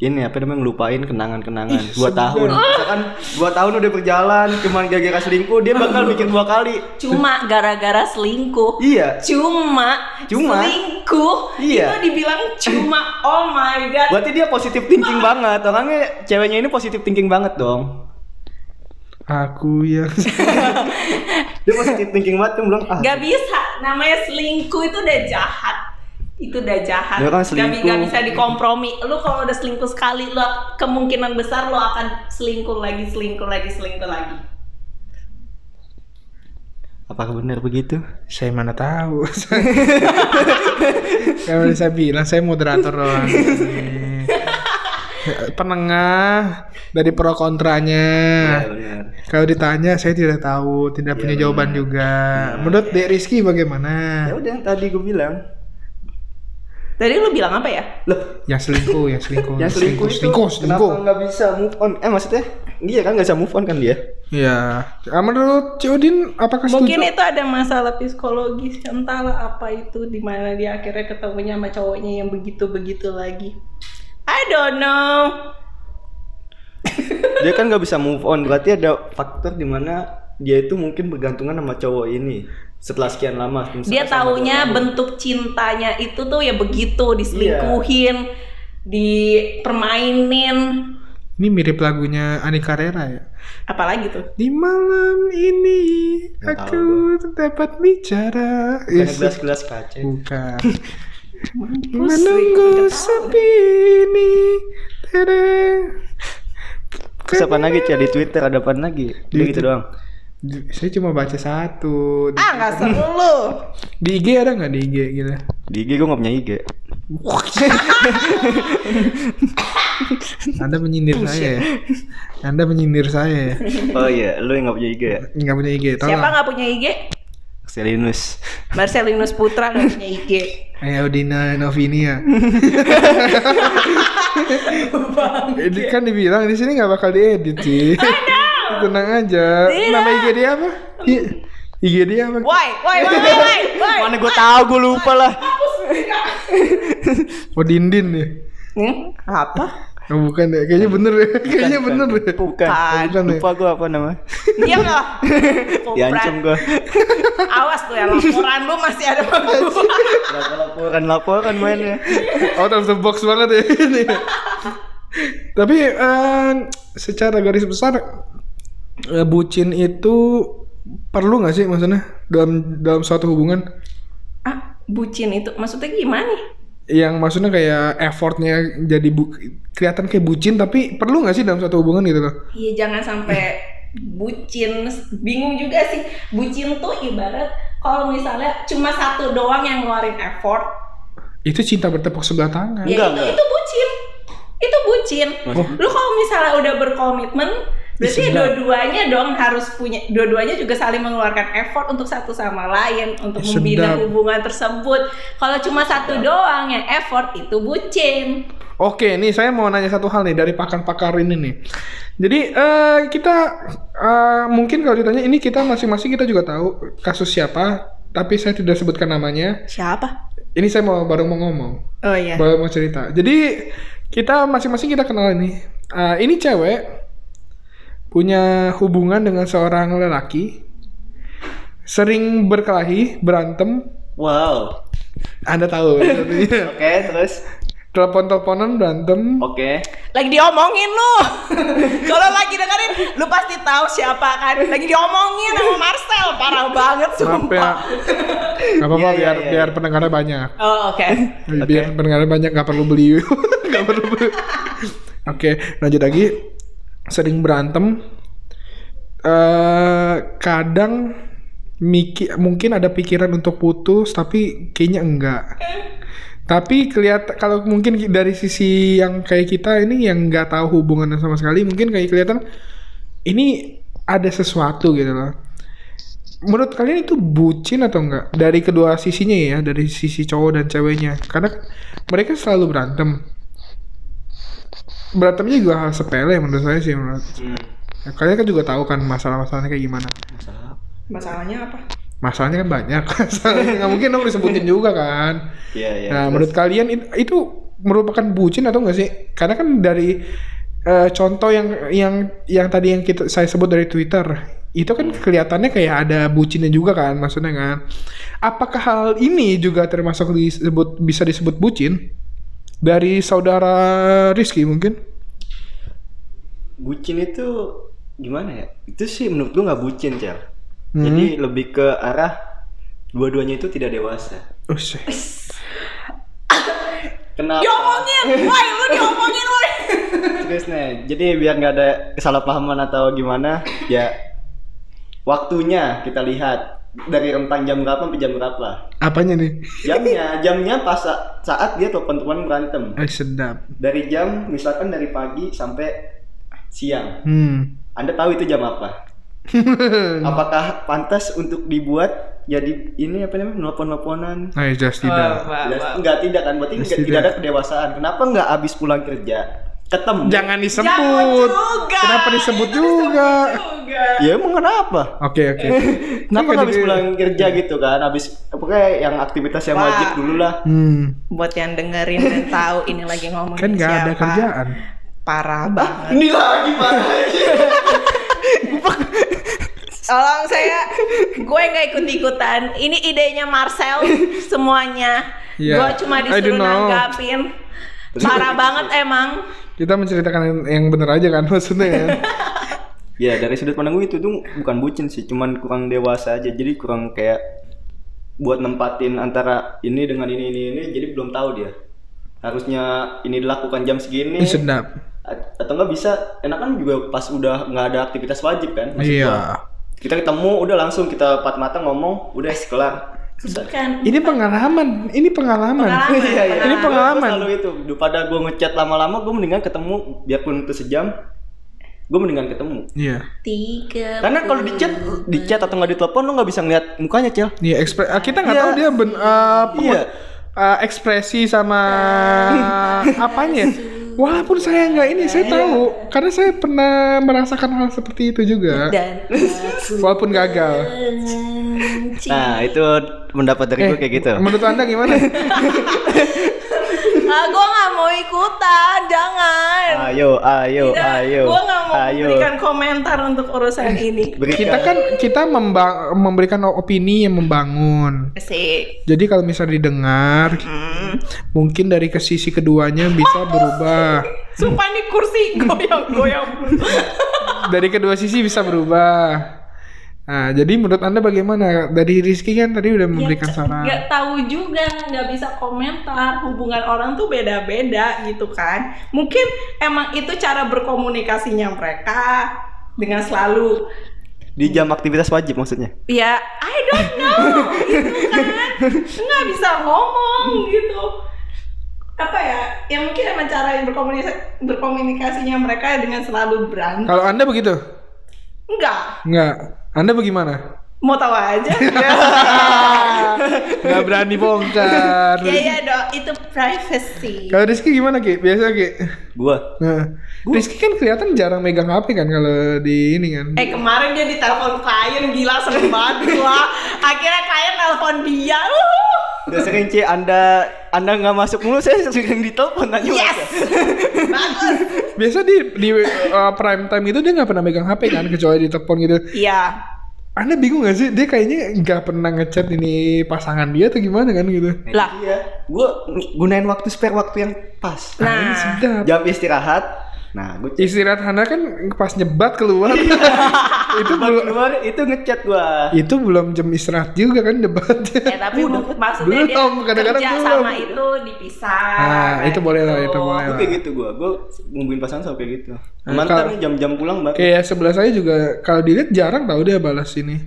Speaker 1: ini apa namanya ngelupain kenangan-kenangan
Speaker 2: Ih,
Speaker 1: dua
Speaker 2: sedih
Speaker 1: tahun misalkan dua tahun udah berjalan cuman gara-gara selingkuh dia bakal mikir dua kali
Speaker 3: Cuma gara-gara selingkuh.
Speaker 1: iya
Speaker 3: Cuma,
Speaker 1: Cuma.
Speaker 3: selingkuh
Speaker 1: Iya.
Speaker 3: itu dibilang cuma oh my god
Speaker 1: berarti dia positif thinking banget orangnya ceweknya ini positif thinking banget dong
Speaker 2: aku ya
Speaker 1: dia positif thinking banget tuh bilang ah
Speaker 3: Gak bisa, namanya selingkuh itu udah jahat itu udah jahat
Speaker 1: Ya kan,
Speaker 3: Gak bi-
Speaker 1: selingkuh.
Speaker 3: gak bisa dikompromi lu kalau udah selingkuh sekali lu kemungkinan besar lu akan selingkuh lagi selingkuh lagi selingkuh lagi
Speaker 1: apakah benar begitu
Speaker 2: saya mana tahu kalau saya bilang saya moderator doang Eh, penengah dari pro kontranya
Speaker 1: Iya, benar
Speaker 2: kalau ditanya saya tidak tahu tidak punya
Speaker 1: Iya,
Speaker 2: jawaban juga menurut Dek Rizky bagaimana
Speaker 1: ya udah yang tadi gue bilang
Speaker 3: tadi lu bilang apa ya
Speaker 1: loh
Speaker 2: yang selingkuh yang selingkuh
Speaker 1: yang Ya selingkuh, itu
Speaker 2: selingkuh selingkuh
Speaker 1: kenapa nggak bisa move on eh maksudnya iya kan nggak bisa move on kan dia
Speaker 2: ya Ah, menurut Cudin apakah
Speaker 3: mungkin
Speaker 2: setuju?
Speaker 3: itu ada masalah psikologis entahlah apa itu dimana dia akhirnya ketemunya sama cowoknya yang begitu begitu lagi I don't know
Speaker 1: dia kan nggak bisa move on berarti ada faktor di mana dia itu mungkin bergantungan sama cowok ini setelah sekian lama misalkan sama
Speaker 3: dia
Speaker 1: dua
Speaker 3: taunya
Speaker 1: tahun.
Speaker 3: bentuk cintanya itu tuh ya begitu diselingkuhin dipermainin
Speaker 2: Ini mirip lagunya Ani Carrera ya.
Speaker 3: apalagi tuh
Speaker 2: Di malam ini
Speaker 1: Nggak
Speaker 2: aku dapat bicara.
Speaker 1: Bukan
Speaker 2: Is-
Speaker 1: gelas-gelas kaca
Speaker 2: Bukan. Menunggu sepi ini. Tere.
Speaker 1: terus apa lagi Cia? di twitter ada apa lagi dia gitu doang
Speaker 2: Saya cuma baca satu. Di,
Speaker 3: ah nggak seru lu
Speaker 2: di IG ada nggak di IG gitu?
Speaker 1: di IG gue nggak punya IG
Speaker 2: Anda menyindir saya ya. Anda menyindir saya ya.
Speaker 1: oh iya lu yang nggak punya IG ya
Speaker 2: Nggak punya IG.
Speaker 3: siapa
Speaker 2: Tolong.
Speaker 3: nggak punya IG
Speaker 1: Selinus
Speaker 3: Marcelinus Putra nggak punya IG
Speaker 2: Ayo Dina ya. Novinia. Edit kan dibilang di sini nggak bakal diedit sih. Tenang aja.
Speaker 3: Tidak.
Speaker 2: Nama IG dia apa? I- IG dia apa?
Speaker 3: why why why why why, why?
Speaker 1: mana gue tahu gue lupa lah
Speaker 2: Oh Dindin ya.
Speaker 3: Hmm? apa
Speaker 2: Oh, bukan ya. Kayaknya bener ya. Kayaknya
Speaker 1: Iya,
Speaker 2: bener ya.
Speaker 1: bukan
Speaker 3: Bukan.
Speaker 1: bukan
Speaker 2: ya.
Speaker 1: lupa gue apa nama
Speaker 3: dia nggak
Speaker 1: diancam gue
Speaker 3: awas tuh ya laporan lu masih ada sama gua.
Speaker 1: laporan laporan mainnya
Speaker 2: Out of the box banget ya ini. Tapi eh, secara garis besar eh, bucin itu perlu nggak sih maksudnya dalam dalam suatu hubungan?
Speaker 3: ah bucin itu maksudnya gimana nih
Speaker 2: yang maksudnya kayak effortnya jadi bu- kelihatan kayak bucin tapi perlu nggak sih dalam satu hubungan gitu loh
Speaker 3: Iya jangan sampai bucin bingung juga sih bucin tuh ibarat kalau misalnya cuma satu doang yang ngeluarin effort
Speaker 2: itu cinta bertepuk sebelah tangan
Speaker 3: ya
Speaker 1: Enggak,
Speaker 3: itu
Speaker 1: enggak.
Speaker 3: itu bucin itu bucin
Speaker 1: Maksud-
Speaker 3: lu kalau misalnya udah berkomitmen berarti
Speaker 2: sebelah.
Speaker 3: dua-duanya dong harus punya dua-duanya juga saling mengeluarkan effort untuk satu sama lain untuk
Speaker 2: Ya,
Speaker 3: membina
Speaker 2: sedap.
Speaker 3: hubungan tersebut kalau cuma satu doang yang effort itu bucin
Speaker 2: oke nih saya mau nanya satu hal nih dari pakar-pakar ini nih jadi eh, kita eh, mungkin kalau ditanya ini kita masing-masing kita juga tahu kasus siapa tapi saya tidak sebutkan namanya
Speaker 3: siapa
Speaker 2: ini saya mau baru mau ngomong
Speaker 3: oh iya
Speaker 2: baru mau cerita jadi kita masing-masing kita kenal ini Eh, ini cewek Ah, punya hubungan dengan seorang lelaki, sering berkelahi, berantem,
Speaker 1: Wow.
Speaker 2: Anda tahu. ya,
Speaker 1: Oke, terus.
Speaker 2: Telepon-teleponan berantem.
Speaker 1: Oke.
Speaker 3: Lagi diomongin lu. Kalau lagi dengerin, lu pasti tahu siapa kan. Lagi diomongin sama Marcel, parah banget
Speaker 2: Maaf
Speaker 3: sumpah.
Speaker 2: ya. Gak apa-apa
Speaker 1: Iya, iya,
Speaker 2: biar
Speaker 1: iya.
Speaker 2: biar pendengarnya banyak.
Speaker 3: Oh, oke.
Speaker 2: Biar pendengarnya banyak nggak perlu beli. Nggak perlu beli. Oke, lanjut lagi. Sering berantem. eh kadang miki- mungkin ada pikiran untuk putus tapi kayaknya enggak. Tapi kelihatan kalau mungkin dari sisi yang kayak kita ini yang nggak tahu hubungannya sama sekali mungkin kayak kelihatan ini ada sesuatu gitu loh. Menurut kalian itu bucin atau enggak? Dari kedua sisinya ya, dari sisi cowok dan ceweknya. Karena mereka selalu berantem. Berantemnya juga hal sepele menurut saya sih menurut.
Speaker 1: Hmm.
Speaker 2: Ya, kalian kan juga tahu kan masalah-masalahnya kayak gimana.
Speaker 1: Masalah.
Speaker 3: Masalahnya apa?
Speaker 2: Masalahnya kan banyak. Masalahnya nggak mungkin dong disebutin juga kan.
Speaker 1: Iya, iya.
Speaker 2: Nah,
Speaker 1: terus.
Speaker 2: menurut kalian it- itu merupakan bucin atau enggak sih? Karena kan dari eh, contoh yang yang yang tadi yang kita saya sebut dari Twitter, itu kan kelihatannya kayak ada bucinnya juga kan, maksudnya kan. Apakah hal ini juga termasuk disebut bisa disebut bucin dari saudara Rizky mungkin?
Speaker 1: bucin itu gimana ya? Itu sih menurut gua nggak bucin, Cel.
Speaker 2: Hmm.
Speaker 1: Jadi lebih ke arah dua-duanya itu tidak dewasa.
Speaker 2: Usai.
Speaker 1: Kenapa?
Speaker 3: Diomongin. Woi, lu diomongin woi.
Speaker 1: Terus nih, jadi biar nggak ada kesalahpahaman atau gimana, ya waktunya kita lihat dari rentang jam berapa sampai jam berapa.
Speaker 2: Apanya nih?
Speaker 1: Jamnya, jamnya pas sa- saat dia telepon teman berantem.
Speaker 2: Ay, sedap.
Speaker 1: Dari jam misalkan dari pagi sampai siang.
Speaker 2: Hmm.
Speaker 1: Anda tahu itu jam apa? Apakah pantas untuk dibuat jadi ini apa namanya nelpon-nelponan?
Speaker 2: Ay, just
Speaker 3: Oh,
Speaker 2: tidak.
Speaker 3: Wah,
Speaker 1: Jelas-
Speaker 3: wah, wah.
Speaker 1: Enggak tidak kan berarti
Speaker 2: Pasti
Speaker 1: enggak, tidak ada
Speaker 2: tidak.
Speaker 1: kedewasaan. Kenapa enggak habis pulang kerja ketemu?
Speaker 2: Jangan disebut.
Speaker 3: Jangan juga.
Speaker 2: Kenapa disebut
Speaker 3: Itu
Speaker 2: juga?
Speaker 3: juga.
Speaker 1: Ya emang kenapa?
Speaker 2: Oke, oke.
Speaker 1: Kenapa
Speaker 2: Ini
Speaker 1: nggak habis
Speaker 2: jadi-
Speaker 1: pulang kerja gitu kan? Habis pokoknya yang aktivitas yang
Speaker 3: Wah.
Speaker 1: wajib dulu lah.
Speaker 2: Hmm.
Speaker 3: Buat yang dengerin dan tahu ini lagi ngomongin
Speaker 2: Kan nggak ada
Speaker 3: Oh, siapa.
Speaker 2: kerjaan.
Speaker 3: Parah banget.
Speaker 1: Ini lagi parah.
Speaker 3: Tolong saya, gue nggak ikut ikutan. Ini idenya Marcel semuanya.
Speaker 2: Iya.
Speaker 3: Gue cuma
Speaker 2: I don't
Speaker 3: disuruh
Speaker 2: know.
Speaker 3: nanggapin. Parah banget emang.
Speaker 2: Kita menceritakan yang- yang bener aja kan maksudnya ya.
Speaker 1: Ya dari sudut pandang gue itu tuh bukan bucin sih, cuman kurang dewasa aja. Jadi kurang kayak buat nempatin antara ini dengan ini ini ini. Jadi belum tahu dia. Harusnya ini dilakukan jam segini.
Speaker 2: Ini sedap.
Speaker 1: A- atau nggak bisa enakan juga pas udah nggak ada aktivitas wajib kan Maksud gua,
Speaker 2: Iya.
Speaker 1: kita ketemu udah langsung kita empat mata ngomong
Speaker 3: Eh,
Speaker 1: udah kelar Selesai.
Speaker 3: Bukan.
Speaker 2: Ini pengalaman, ini pengalaman.
Speaker 3: Pengalaman, Iya, iya.
Speaker 2: Ini
Speaker 1: Gua- gua
Speaker 2: pengalaman.
Speaker 1: selalu itu daripada gue ngechat lama-lama gue mendingan ketemu biarpun itu sejam gue mendingan ketemu
Speaker 2: Iya.
Speaker 3: Tiga.
Speaker 1: karena kalau di chat di chat atau nggak di telepon lu nggak bisa ngeliat mukanya cel
Speaker 2: Iya, ekspre- ah, kita nggak
Speaker 1: Iya.
Speaker 2: tahu dia ben ah, apa-
Speaker 1: Iya.
Speaker 2: ah, ekspresi sama apanya. ya. Walaupun saya nggak ini, saya tahu karena saya pernah merasakan hal seperti itu
Speaker 1: Eh.
Speaker 2: juga.
Speaker 3: Dan
Speaker 2: Walaupun gagal.
Speaker 1: nah itu pendapat dari gue kayak gitu
Speaker 2: Eh, Menurut Anda gimana?
Speaker 3: ah, gue nggak mau ikutan, jangan.
Speaker 1: ayo ayo ayo
Speaker 3: Gue nggak mau
Speaker 1: ayo
Speaker 3: memberikan komentar untuk urusan ini.
Speaker 1: Berikan.
Speaker 2: kita kan kita memba- memberikan opini yang membangun.
Speaker 3: Sih. Hmm.
Speaker 2: Jadi kalau misalnya didengar, mungkin dari ke sisi keduanya bisa berubah.
Speaker 3: Sumpah nih kursi goyang-goyang.
Speaker 2: Dari kedua sisi bisa berubah. Nah, jadi menurut Anda bagaimana? Dari Rizky kan tadi udah memberikan
Speaker 3: Iya,
Speaker 2: saran.
Speaker 3: nggak tahu juga nggak bisa komentar hubungan orang tuh beda-beda gitu kan mungkin emang itu cara berkomunikasinya mereka dengan selalu
Speaker 1: di jam aktivitas wajib maksudnya
Speaker 3: ya I don't know gitu kan nggak bisa ngomong gitu apa ya ya mungkin emang cara berkomunikasi berkomunikasinya mereka dengan selalu berantem
Speaker 2: Kalau Anda begitu?
Speaker 3: enggak
Speaker 2: Enggak. Anda bagaimana?
Speaker 3: mau tahu aja Ya,
Speaker 2: Enggak berani bongkar.
Speaker 3: ya ya dok itu privacy
Speaker 2: Kalau Rizky gimana, Ki? Biasa, Ki?
Speaker 1: gue
Speaker 2: Nah, Rizky kan kelihatan jarang megang HP kan kalau di ini kan.
Speaker 3: Eh kemarin dia ditelepon klien gila serem banget gua. Akhirnya klien nelpon dia. Uhuh.
Speaker 1: udah sering Ci, anda anda nggak masuk mulu saya sering ditelepon nanya
Speaker 3: Yes. Bagus.
Speaker 2: biasa di di uh, prime time itu dia nggak pernah megang HP kan kecuali ditelepon gitu.
Speaker 3: Iya.
Speaker 2: Anda bingung gak sih? Dia kayaknya nggak pernah ngechat ini pasangan dia atau gimana kan gitu.
Speaker 1: Nah,
Speaker 3: Lah.
Speaker 1: itu dia. Gue gunain waktu spare waktu yang pas.
Speaker 2: Ah, ini
Speaker 3: Nah,
Speaker 2: sedap.
Speaker 1: Jam istirahat. Nah, gue
Speaker 2: Istirahat Anda kan pas nyebat keluar.
Speaker 3: Iya.
Speaker 2: itu belum
Speaker 1: keluar itu ngechat gua.
Speaker 2: itu belum jam istirahat juga kan debatnya.
Speaker 3: ya tapi
Speaker 1: Belum.
Speaker 3: maksudnya dia
Speaker 2: Belum, kadang-kadang
Speaker 3: kerja
Speaker 2: belum.
Speaker 3: sama kan itu dipisah. nah,
Speaker 2: Ah,
Speaker 3: kayak
Speaker 2: itu boleh lah, itu boleh.
Speaker 1: Gue kayak gitu gua. Gue nungguin pasangan sampai gitu.
Speaker 2: Hmm,
Speaker 1: Mantan
Speaker 2: kalau-
Speaker 1: jam-jam pulang banget.
Speaker 2: Kayak ya, sebelah saya juga kalau dilihat jarang tau dia balas ini.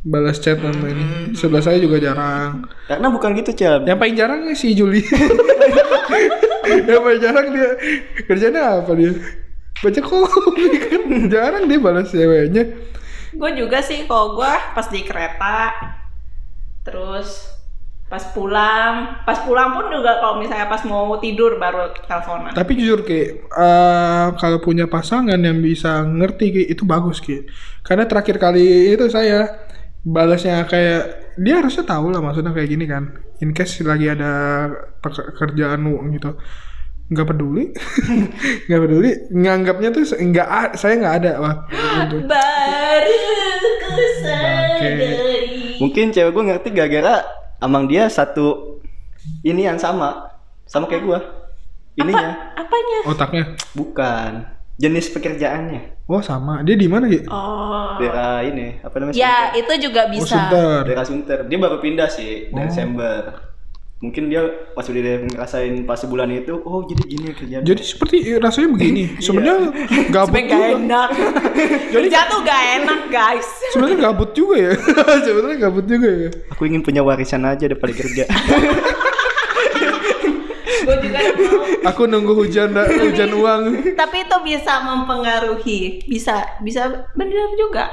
Speaker 2: Balas chat sama ini.
Speaker 3: Hmm,
Speaker 2: Sebelah saya juga jarang.
Speaker 1: Karena bukan gitu, Cel.
Speaker 3: Iya.
Speaker 2: Yang paling jarang si Juli. yang paling jarang dia kerjanya apa dia? Baca komik kan jarang dia balas ceweknya.
Speaker 3: Gue juga sih kalau gue pas di kereta terus pas pulang, pas pulang pun juga kalau misalnya pas mau tidur baru teleponan.
Speaker 2: Tapi jujur ki, eh, kalau punya pasangan yang bisa ngerti ki itu bagus ki. Karena terakhir kali itu saya balasnya kayak dia harusnya tahu lah maksudnya kayak gini kan. In case lagi ada pekerjaan gitu, nggak peduli, nggak peduli. Nganggapnya tuh se- nggak a- saya nggak ada wah. gitu.
Speaker 3: Baru ku
Speaker 1: Mungkin cewek gue ngerti gara-gara amang dia satu ini yang sama, sama kayak gua. Ininya
Speaker 3: Apanya?
Speaker 2: Otaknya,
Speaker 1: bukan jenis pekerjaannya.
Speaker 2: oh sama. Dia di mana ki?
Speaker 3: Oh.
Speaker 1: Daerah ini apa namanya?
Speaker 3: Ya, itu juga
Speaker 2: Oh
Speaker 3: bisa.
Speaker 1: Sunter.
Speaker 2: sebentar.
Speaker 1: Daerah Sunter. Dia baru pindah sih dari
Speaker 2: Oh.
Speaker 1: Desember. Mungkin dia pas udah dia ngerasain pas sebulan itu, oh jadi gini kerjaan.
Speaker 2: Jadi seperti rasanya begini.
Speaker 3: Iya.
Speaker 2: Sebenarnya gabut
Speaker 3: Sebenernya gak
Speaker 2: juga.
Speaker 3: enak. Kerja tuh gak enak, guys.
Speaker 2: Sebenarnya gabut juga ya. Sebenarnya gabut juga ya.
Speaker 1: Aku ingin punya warisan aja daripada kerja.
Speaker 3: Gue juga mau
Speaker 2: Aku nunggu hujan da- hujan uang.
Speaker 3: tapi itu bisa mempengaruhi bisa bisa benar juga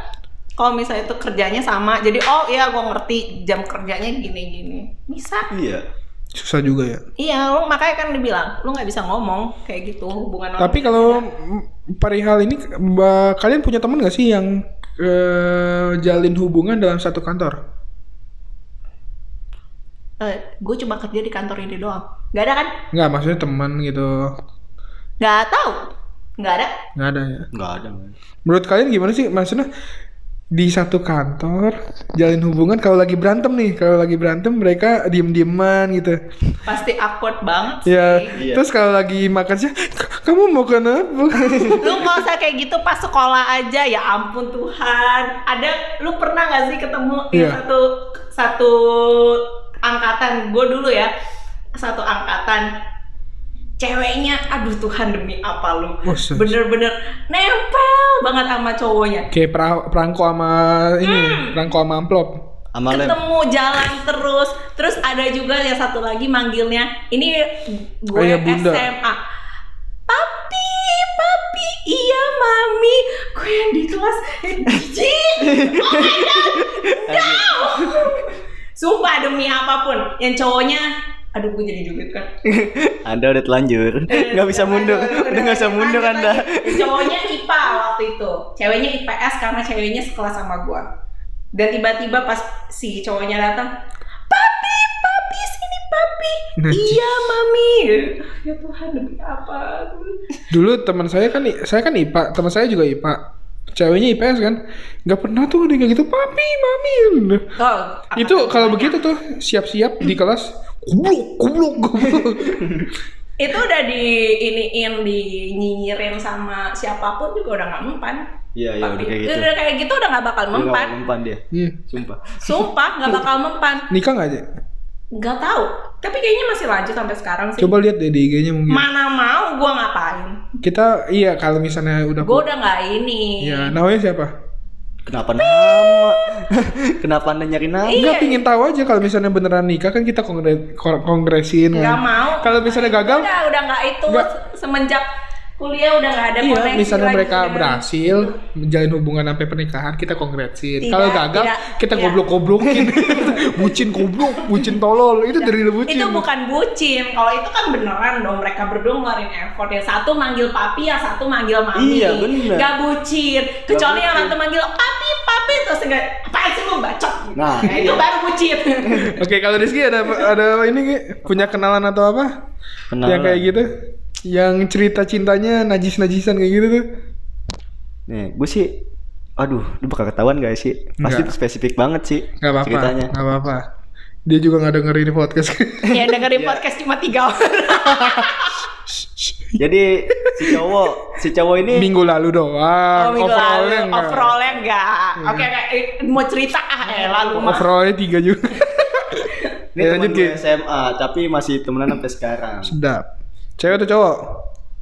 Speaker 3: kalau misalnya itu kerjanya sama jadi oh iya gua ngerti jam kerjanya gini gini bisa
Speaker 1: iya.
Speaker 2: Susah juga ya.
Speaker 3: iya lu makanya kan dibilang lu nggak bisa ngomong kayak gitu hubungan orang
Speaker 2: Tapi kalau mm, perihal ini Mbak, kalian punya teman gak sih yang eh, jalin hubungan dalam satu kantor?
Speaker 3: gue Eh, cuma kerja di kantor ini doang nggak ada kan
Speaker 2: Nggak, maksudnya teman gitu.
Speaker 3: nggak tahu nggak ada
Speaker 2: Nggak ada ya.
Speaker 1: Enggak ada. man.
Speaker 2: Menurut kalian gimana sih maksudnya di satu kantor jalin hubungan kalau lagi berantem nih kalau lagi berantem mereka diem dieman gitu
Speaker 3: pasti awkward banget sih
Speaker 2: ya
Speaker 1: Iya.
Speaker 2: terus kalau lagi makan sih kamu mau kenapa
Speaker 3: lu nggak usah kayak gitu pas sekolah aja ya ampun Tuhan ada lu pernah nggak sih ketemu
Speaker 2: Iya.
Speaker 3: yang satu satu angkatan gue dulu ya satu angkatan ceweknya aduh Tuhan demi apa lu
Speaker 2: Wah, Oh, serius.
Speaker 3: bener-bener nempel banget sama cowoknya
Speaker 2: Kayak pra- perangko sama ini, perangko sama amplop.
Speaker 1: Sama lem.
Speaker 3: ketemu jalan terus terus ada juga yang satu lagi manggilnya ini gue
Speaker 2: Ayah bunda.
Speaker 3: SMA papi papi iya mami gue yang di kelas jijik oh my god no sumpah demi apapun yang cowoknya aduh gue jadi joget kan
Speaker 1: Anda udah telanjur.
Speaker 3: Eh,
Speaker 1: Nggak bisa mundur. Udah nggak bisa mundur
Speaker 3: Lanjut
Speaker 1: Anda.
Speaker 3: lagi. Cowoknya IPA waktu itu, ceweknya IPS karena ceweknya sekelas sama gua. Dan tiba-tiba pas si cowoknya datang, papi, papi sini papi.
Speaker 1: Nah,
Speaker 2: Najis.
Speaker 3: Iya mami. Ya Tuhan demi apa?
Speaker 2: Dulu teman saya kan, I- saya kan IPA, teman saya juga IPA. Ceweknya IPS kan, nggak pernah tuh ada yang kayak gitu, papi, mami.
Speaker 3: Oh,
Speaker 2: Itu kalau begitu tuh siap-siap di kelas, kubluk, kubluk, kubluk.
Speaker 3: itu udah di iniin di nyinyirin sama siapapun juga udah nggak mempan.
Speaker 1: Iya, iya udah kayak gitu.
Speaker 3: Udah kayak gitu udah nggak bakal
Speaker 1: Dia nggak
Speaker 3: mempan.
Speaker 1: mau Mempan dia.
Speaker 2: Iya.
Speaker 1: Sumpah.
Speaker 3: Sumpah nggak bakal mempan.
Speaker 2: Nikah nggak aja?
Speaker 3: Nggak tahu. Tapi kayaknya masih lanjut sampai sekarang sih.
Speaker 2: Coba lihat deh di IG-nya mungkin.
Speaker 3: Mana mau gua ngapain?
Speaker 2: Kita iya kalau misalnya udah.
Speaker 3: Gua udah nggak ini.
Speaker 2: Iya, namanya siapa?
Speaker 1: Kenapa nama? Kenapa Anda nyari nama?
Speaker 3: Iya.
Speaker 2: Nggak pingin tahu aja kalau misalnya beneran nikah kan kita kongre- kor- kongresin.
Speaker 3: Nggak
Speaker 2: kan.
Speaker 3: mau.
Speaker 2: Kalau misalnya gagal,
Speaker 3: Udah, udah nggak itu
Speaker 2: Nggak.
Speaker 3: semenjak kuliah udah nggak ada
Speaker 2: Iya,
Speaker 3: koneksi
Speaker 2: misalnya
Speaker 3: lagi kan.
Speaker 2: mereka
Speaker 3: dengan-
Speaker 2: berhasil menjalin hubungan sampai pernikahan, kita kongresin.
Speaker 3: Tidak,
Speaker 2: Kalau gagal,
Speaker 3: tidak, iya.
Speaker 2: kita
Speaker 3: tidak.
Speaker 2: goblok-goblokin. bucin goblok, bucin tolol. Itu dari bucin.
Speaker 3: Iya. Itu bukan bucin. Kalau itu kan beneran dong mereka berdua ngeluarin effort ya. Satu manggil papi, ya satu manggil mami.
Speaker 1: Iya, bener.
Speaker 3: Gak bucin. Kecuali yang
Speaker 1: bucin.
Speaker 3: satu manggil papi, papi terus enggak apaan sih lu bacot. gitu.
Speaker 1: Nah,
Speaker 3: Nah, itu
Speaker 1: iya.
Speaker 3: baru bucin.
Speaker 2: Oke, kalau Rizky ada ada ini Ki? punya kenalan atau apa?
Speaker 1: Kenalan.
Speaker 2: Yang kayak gitu. Yang cerita cintanya najis-najisan kayak gitu tuh.
Speaker 1: Nih, gue sih aduh, lu bakal ketahuan gak sih? Pasti
Speaker 2: Nggak.
Speaker 1: spesifik banget sih
Speaker 2: Gak apa-apa.
Speaker 1: ceritanya.
Speaker 2: Gak apa-apa. Dia juga gak dengerin podcast. Iya.
Speaker 3: Ya dengerin podcast cuma tiga orang.
Speaker 1: Jadi si cowok, si cowok ini
Speaker 2: minggu lalu doang.
Speaker 3: Oh, minggu
Speaker 2: Ah, Overallnya
Speaker 3: lalu.
Speaker 2: nggak. Hmm.
Speaker 3: Overallnya enggak. Oke, oke. Eh, mau cerita ah eh, lalu mah.
Speaker 2: Overallnya tiga juga.
Speaker 1: ini
Speaker 2: Ya,
Speaker 1: teman
Speaker 2: lanjut,
Speaker 1: gue
Speaker 2: Ki.
Speaker 1: SMA, tapi masih temenan sampai sekarang.
Speaker 2: Sedap. Cewek atau cowok?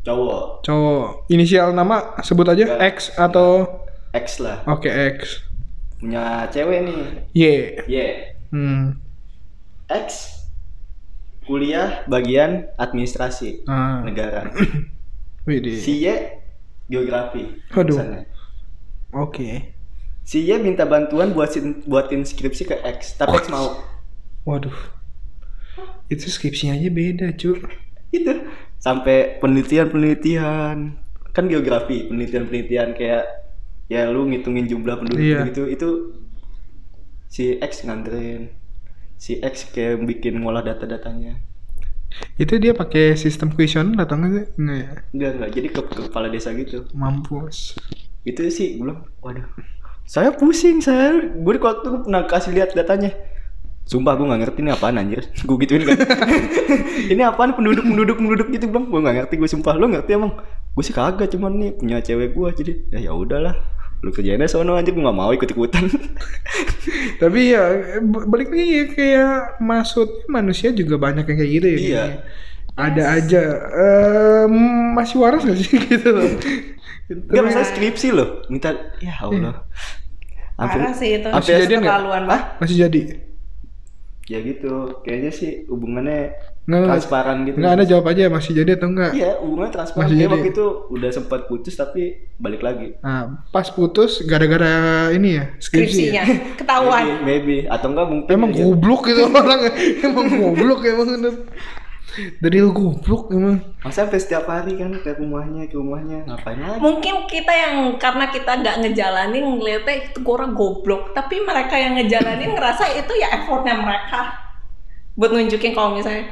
Speaker 1: Cowok
Speaker 2: Cowok. Inisial nama sebut aja
Speaker 1: Nggak.
Speaker 2: X atau
Speaker 1: X lah,
Speaker 2: Oke X.
Speaker 1: punya cewek nih.
Speaker 2: Y.
Speaker 1: Y.
Speaker 2: Hmm.
Speaker 1: X kuliah bagian administrasi
Speaker 2: Ah.
Speaker 1: negara.
Speaker 2: Widih.
Speaker 1: Si Y geografi.
Speaker 2: Aduh.
Speaker 1: jurusannya.
Speaker 2: Oke.
Speaker 1: Si Y minta bantuan buat buatin skripsi ke X, tapi X mau.
Speaker 2: Waduh. Itu skripsinya aja beda, cu.
Speaker 1: Itu Gitu. sampai penelitian-penelitian. Kan geografi, penelitian-penelitian kayak ya lu ngitungin jumlah penduduk
Speaker 2: Iya.
Speaker 1: gitu itu si X nganterin. Si X kayak bikin ngolah data-datanya.
Speaker 2: Itu dia pakai sistem kuesioner atau enggak sih? Enggak ya.
Speaker 1: Enggak, enggak. Jadi ke, ke kepala desa gitu.
Speaker 2: Mampus.
Speaker 1: Itu sih gue bilang, waduh. Saya pusing, saya. Gue waktu itu pernah kasih lihat datanya. Sumpah gue gak ngerti ini apaan anjir Gue gituin kan Ini apaan penduduk-penduduk-penduduk gitu bang Gue gak ngerti gue sumpah Lo ngerti emang Gue sih kagak cuman nih punya cewek gue Jadi ya ya udahlah Lu kerjainnya sono anjir gue gak mau ikut-ikutan
Speaker 2: Tapi ya b- balik lagi ya, kayak maksudnya manusia juga banyak yang kayak gitu ya.
Speaker 1: Iya.
Speaker 2: kayaknya. Ada aja Ehm, masih waras gak sih gitu loh.
Speaker 1: Gak
Speaker 2: Terus
Speaker 3: Iya.
Speaker 1: masalah skripsi loh Minta ya Allah
Speaker 3: Parah
Speaker 1: Hampir-
Speaker 3: sih itu.
Speaker 1: Hampir-
Speaker 2: Kejadian nggak?
Speaker 3: Keterlaluan bah.
Speaker 2: masih jadi.
Speaker 1: Ya gitu Kayaknya sih hubungannya
Speaker 2: Nggak, Eh, nggak.
Speaker 1: Transparan gitu
Speaker 2: Enggak ada jawab aja masih jadi atau enggak.
Speaker 1: Iya hubungannya transparan
Speaker 2: Masih ya?
Speaker 1: Dia
Speaker 2: jadi.
Speaker 1: waktu itu udah sempat putus tapi balik lagi
Speaker 2: Nah, pas putus gara-gara ini ya, skripsi.
Speaker 3: Skripsinya
Speaker 2: Ya?
Speaker 1: Maybe,
Speaker 3: ketahuan.
Speaker 1: maybe. Atau enggak mungkin
Speaker 2: Emang
Speaker 1: aja.
Speaker 2: goblok gitu orang. Emang goblok ya, emang Dari lu goblok emang.
Speaker 1: Masa sampai setiap hari kan ke rumahnya, ke rumahnya ngapain lagi?
Speaker 3: Mungkin kita yang karena kita nggak ngejalanin ngeliatnya itu orang goblok, tapi mereka yang ngejalanin ngerasa itu ya effortnya mereka buat nunjukin kalau misalnya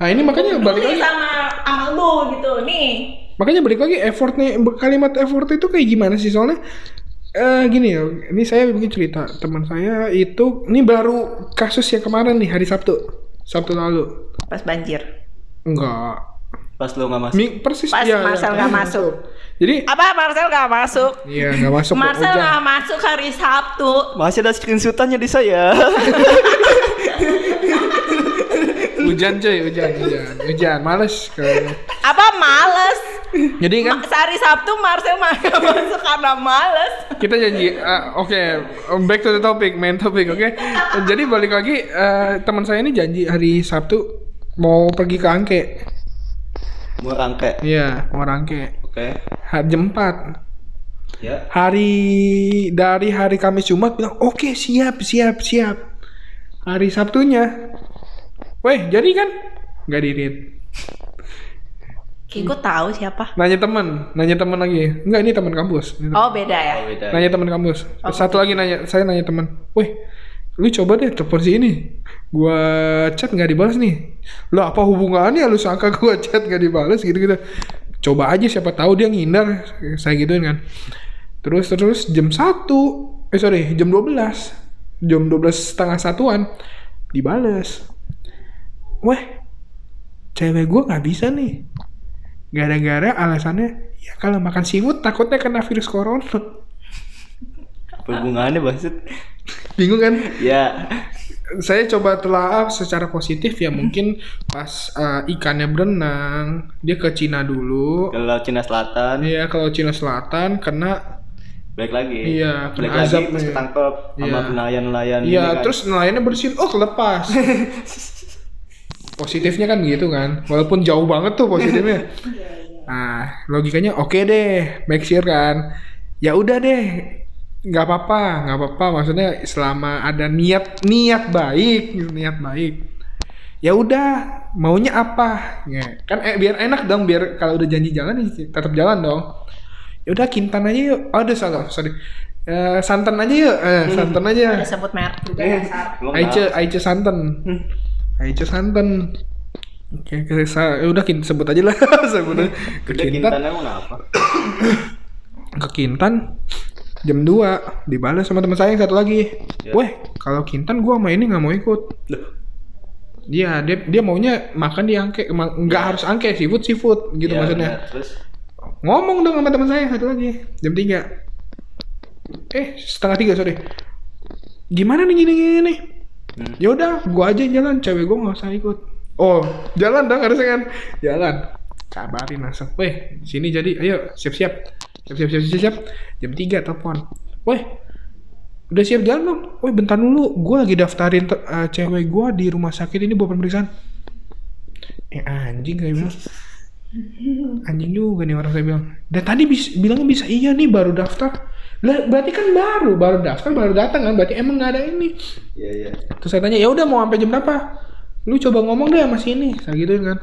Speaker 2: Nah, ini makanya
Speaker 3: lu
Speaker 2: balik
Speaker 3: nih
Speaker 2: lagi.
Speaker 3: sama sama lu gitu nih.
Speaker 2: Makanya balik lagi effortnya kalimat effort itu kayak gimana sih soalnya eh gini ya, ini saya mungkin cerita teman saya itu ini baru kasus yang kemarin nih hari Sabtu. Sabtu lalu.
Speaker 3: Pas banjir.
Speaker 2: Enggak.
Speaker 1: Pas lo nggak masuk.
Speaker 2: Mi- persis
Speaker 3: Pas
Speaker 2: ya,
Speaker 3: Marcel
Speaker 2: ya,
Speaker 3: nggak masuk.
Speaker 2: Jadi
Speaker 3: Apa Marcel nggak masuk?
Speaker 2: iya nggak masuk kok,
Speaker 3: Marcel
Speaker 2: hujan.
Speaker 3: nggak masuk hari Sabtu.
Speaker 1: Masih ada screenshotannya di saya.
Speaker 2: Hujan cuy, hujan, hujan, hujan. Males kalau
Speaker 3: Apa males?
Speaker 2: Jadi kan
Speaker 3: Ma- hari Sabtu Marcel mah nggak masuk karena males.
Speaker 2: kita janji ah, oke back to the topic main topic oke jadi balik lagi eh, teman saya ini janji hari Sabtu mau pergi ke Angke
Speaker 1: Mau rangke.
Speaker 2: iya mau Angke
Speaker 1: Oke.
Speaker 2: Ha- jam 4
Speaker 1: Ya.
Speaker 2: hari dari hari Kamis Jumat bilang oke siap siap siap hari Sabtunya weh jadi kan nggak dirit
Speaker 3: Kayak gue tahu siapa.
Speaker 2: nanya teman nanya teman lagi enggak ini teman kampus Ini
Speaker 3: Oh beda ya.
Speaker 1: Oh, beda.
Speaker 2: nanya teman kampus satu lagi nanya saya nanya teman weh lu coba deh telepon si ini gua chat nggak dibalas nih lo apa hubungannya lu sangka gua chat nggak dibalas gitu gitu coba aja siapa tahu dia ngindar saya gituin kan terus terus jam 1 eh sorry jam 12 jam 12 setengah satuan dibales weh cewek gua nggak bisa nih gara-gara alasannya ya kalau makan seafood takutnya kena virus corona
Speaker 1: Apa Hubungannya maksud.
Speaker 2: bingung kan
Speaker 1: Ya.
Speaker 2: saya coba telaah secara positif ya mungkin pas eh, ikannya berenang dia ke Cina dulu
Speaker 1: Kalau Cina Selatan
Speaker 2: Iya kalau Cina Selatan kena
Speaker 1: balik lagi.
Speaker 2: Iya,
Speaker 1: Balik
Speaker 2: kena
Speaker 1: lagi
Speaker 2: azab
Speaker 1: terus
Speaker 2: nih.
Speaker 1: ketangkep sama
Speaker 2: Iya.
Speaker 1: nelayan-nelayan ini
Speaker 2: iya
Speaker 1: kan.
Speaker 2: terus nelayannya bersin oh kelepas positifnya kan gitu kan walaupun jauh banget tuh positifnya nah logikanya oke deh make sure kan ya udah deh nggak apa-apa nggak apa-apa maksudnya selama ada niat niat baik niat baik ya udah maunya apa ya, kan eh, biar enak dong biar kalau udah janji jalan ya tetap jalan dong ya udah kintan aja yuk oh, aduh salah sorry Eh, santan aja yuk Eh, santan aja
Speaker 3: Ada
Speaker 2: Iya.
Speaker 4: ya.
Speaker 3: sebut merek juga
Speaker 1: Eh,
Speaker 3: dasar.
Speaker 1: emang
Speaker 2: Aice
Speaker 1: kenapa?
Speaker 2: Aice santan Aice santan Oke, oke, sa- eh, udah kin sebut aja lah sebut aja. Ke
Speaker 1: Udah
Speaker 2: Kintan,
Speaker 1: Quintana mau ngapa?
Speaker 2: ke Kintan jam 2 dibalas sama teman saya yang satu lagi.
Speaker 1: Ya.
Speaker 2: Weh, kalau Kintan gua sama ini nggak mau ikut. Iya, dia dia maunya makan di angke, ma- nggak harus angke, seafood seafood gitu
Speaker 1: Iya,
Speaker 2: maksudnya.
Speaker 1: benar. Terus
Speaker 2: Ngomong dong sama teman saya satu lagi jam 3 Eh, setengah tiga sorry. Gimana nih gini gini? nih?
Speaker 1: Hmm.
Speaker 2: Ya udah, gua aja yang jalan, cewek gua nggak usah ikut. Oh, jalan dong harusnya kan. Jalan. Kabarin langsung. Weh, sini jadi, ayo siap-siap. Siap-siap siap-siap. siap. Jam 3 telepon. Weh, udah siap jalan belum? Weh, bentar dulu, gua lagi daftarin te- eh, cewek gua di rumah sakit ini buat pemeriksaan. Eh anjing kayak bilang. Anjing juga nih orang saya bilang. Dan tadi bis- bilangnya bisa iya nih baru daftar. Lah, berarti kan baru, baru daftar, baru datang kan. Berarti emang nggak ada ini.
Speaker 1: iya iya.
Speaker 2: Terus saya tanya, ya udah mau sampai jam berapa? Lu coba ngomong deh sama sini. Saya gituin kan.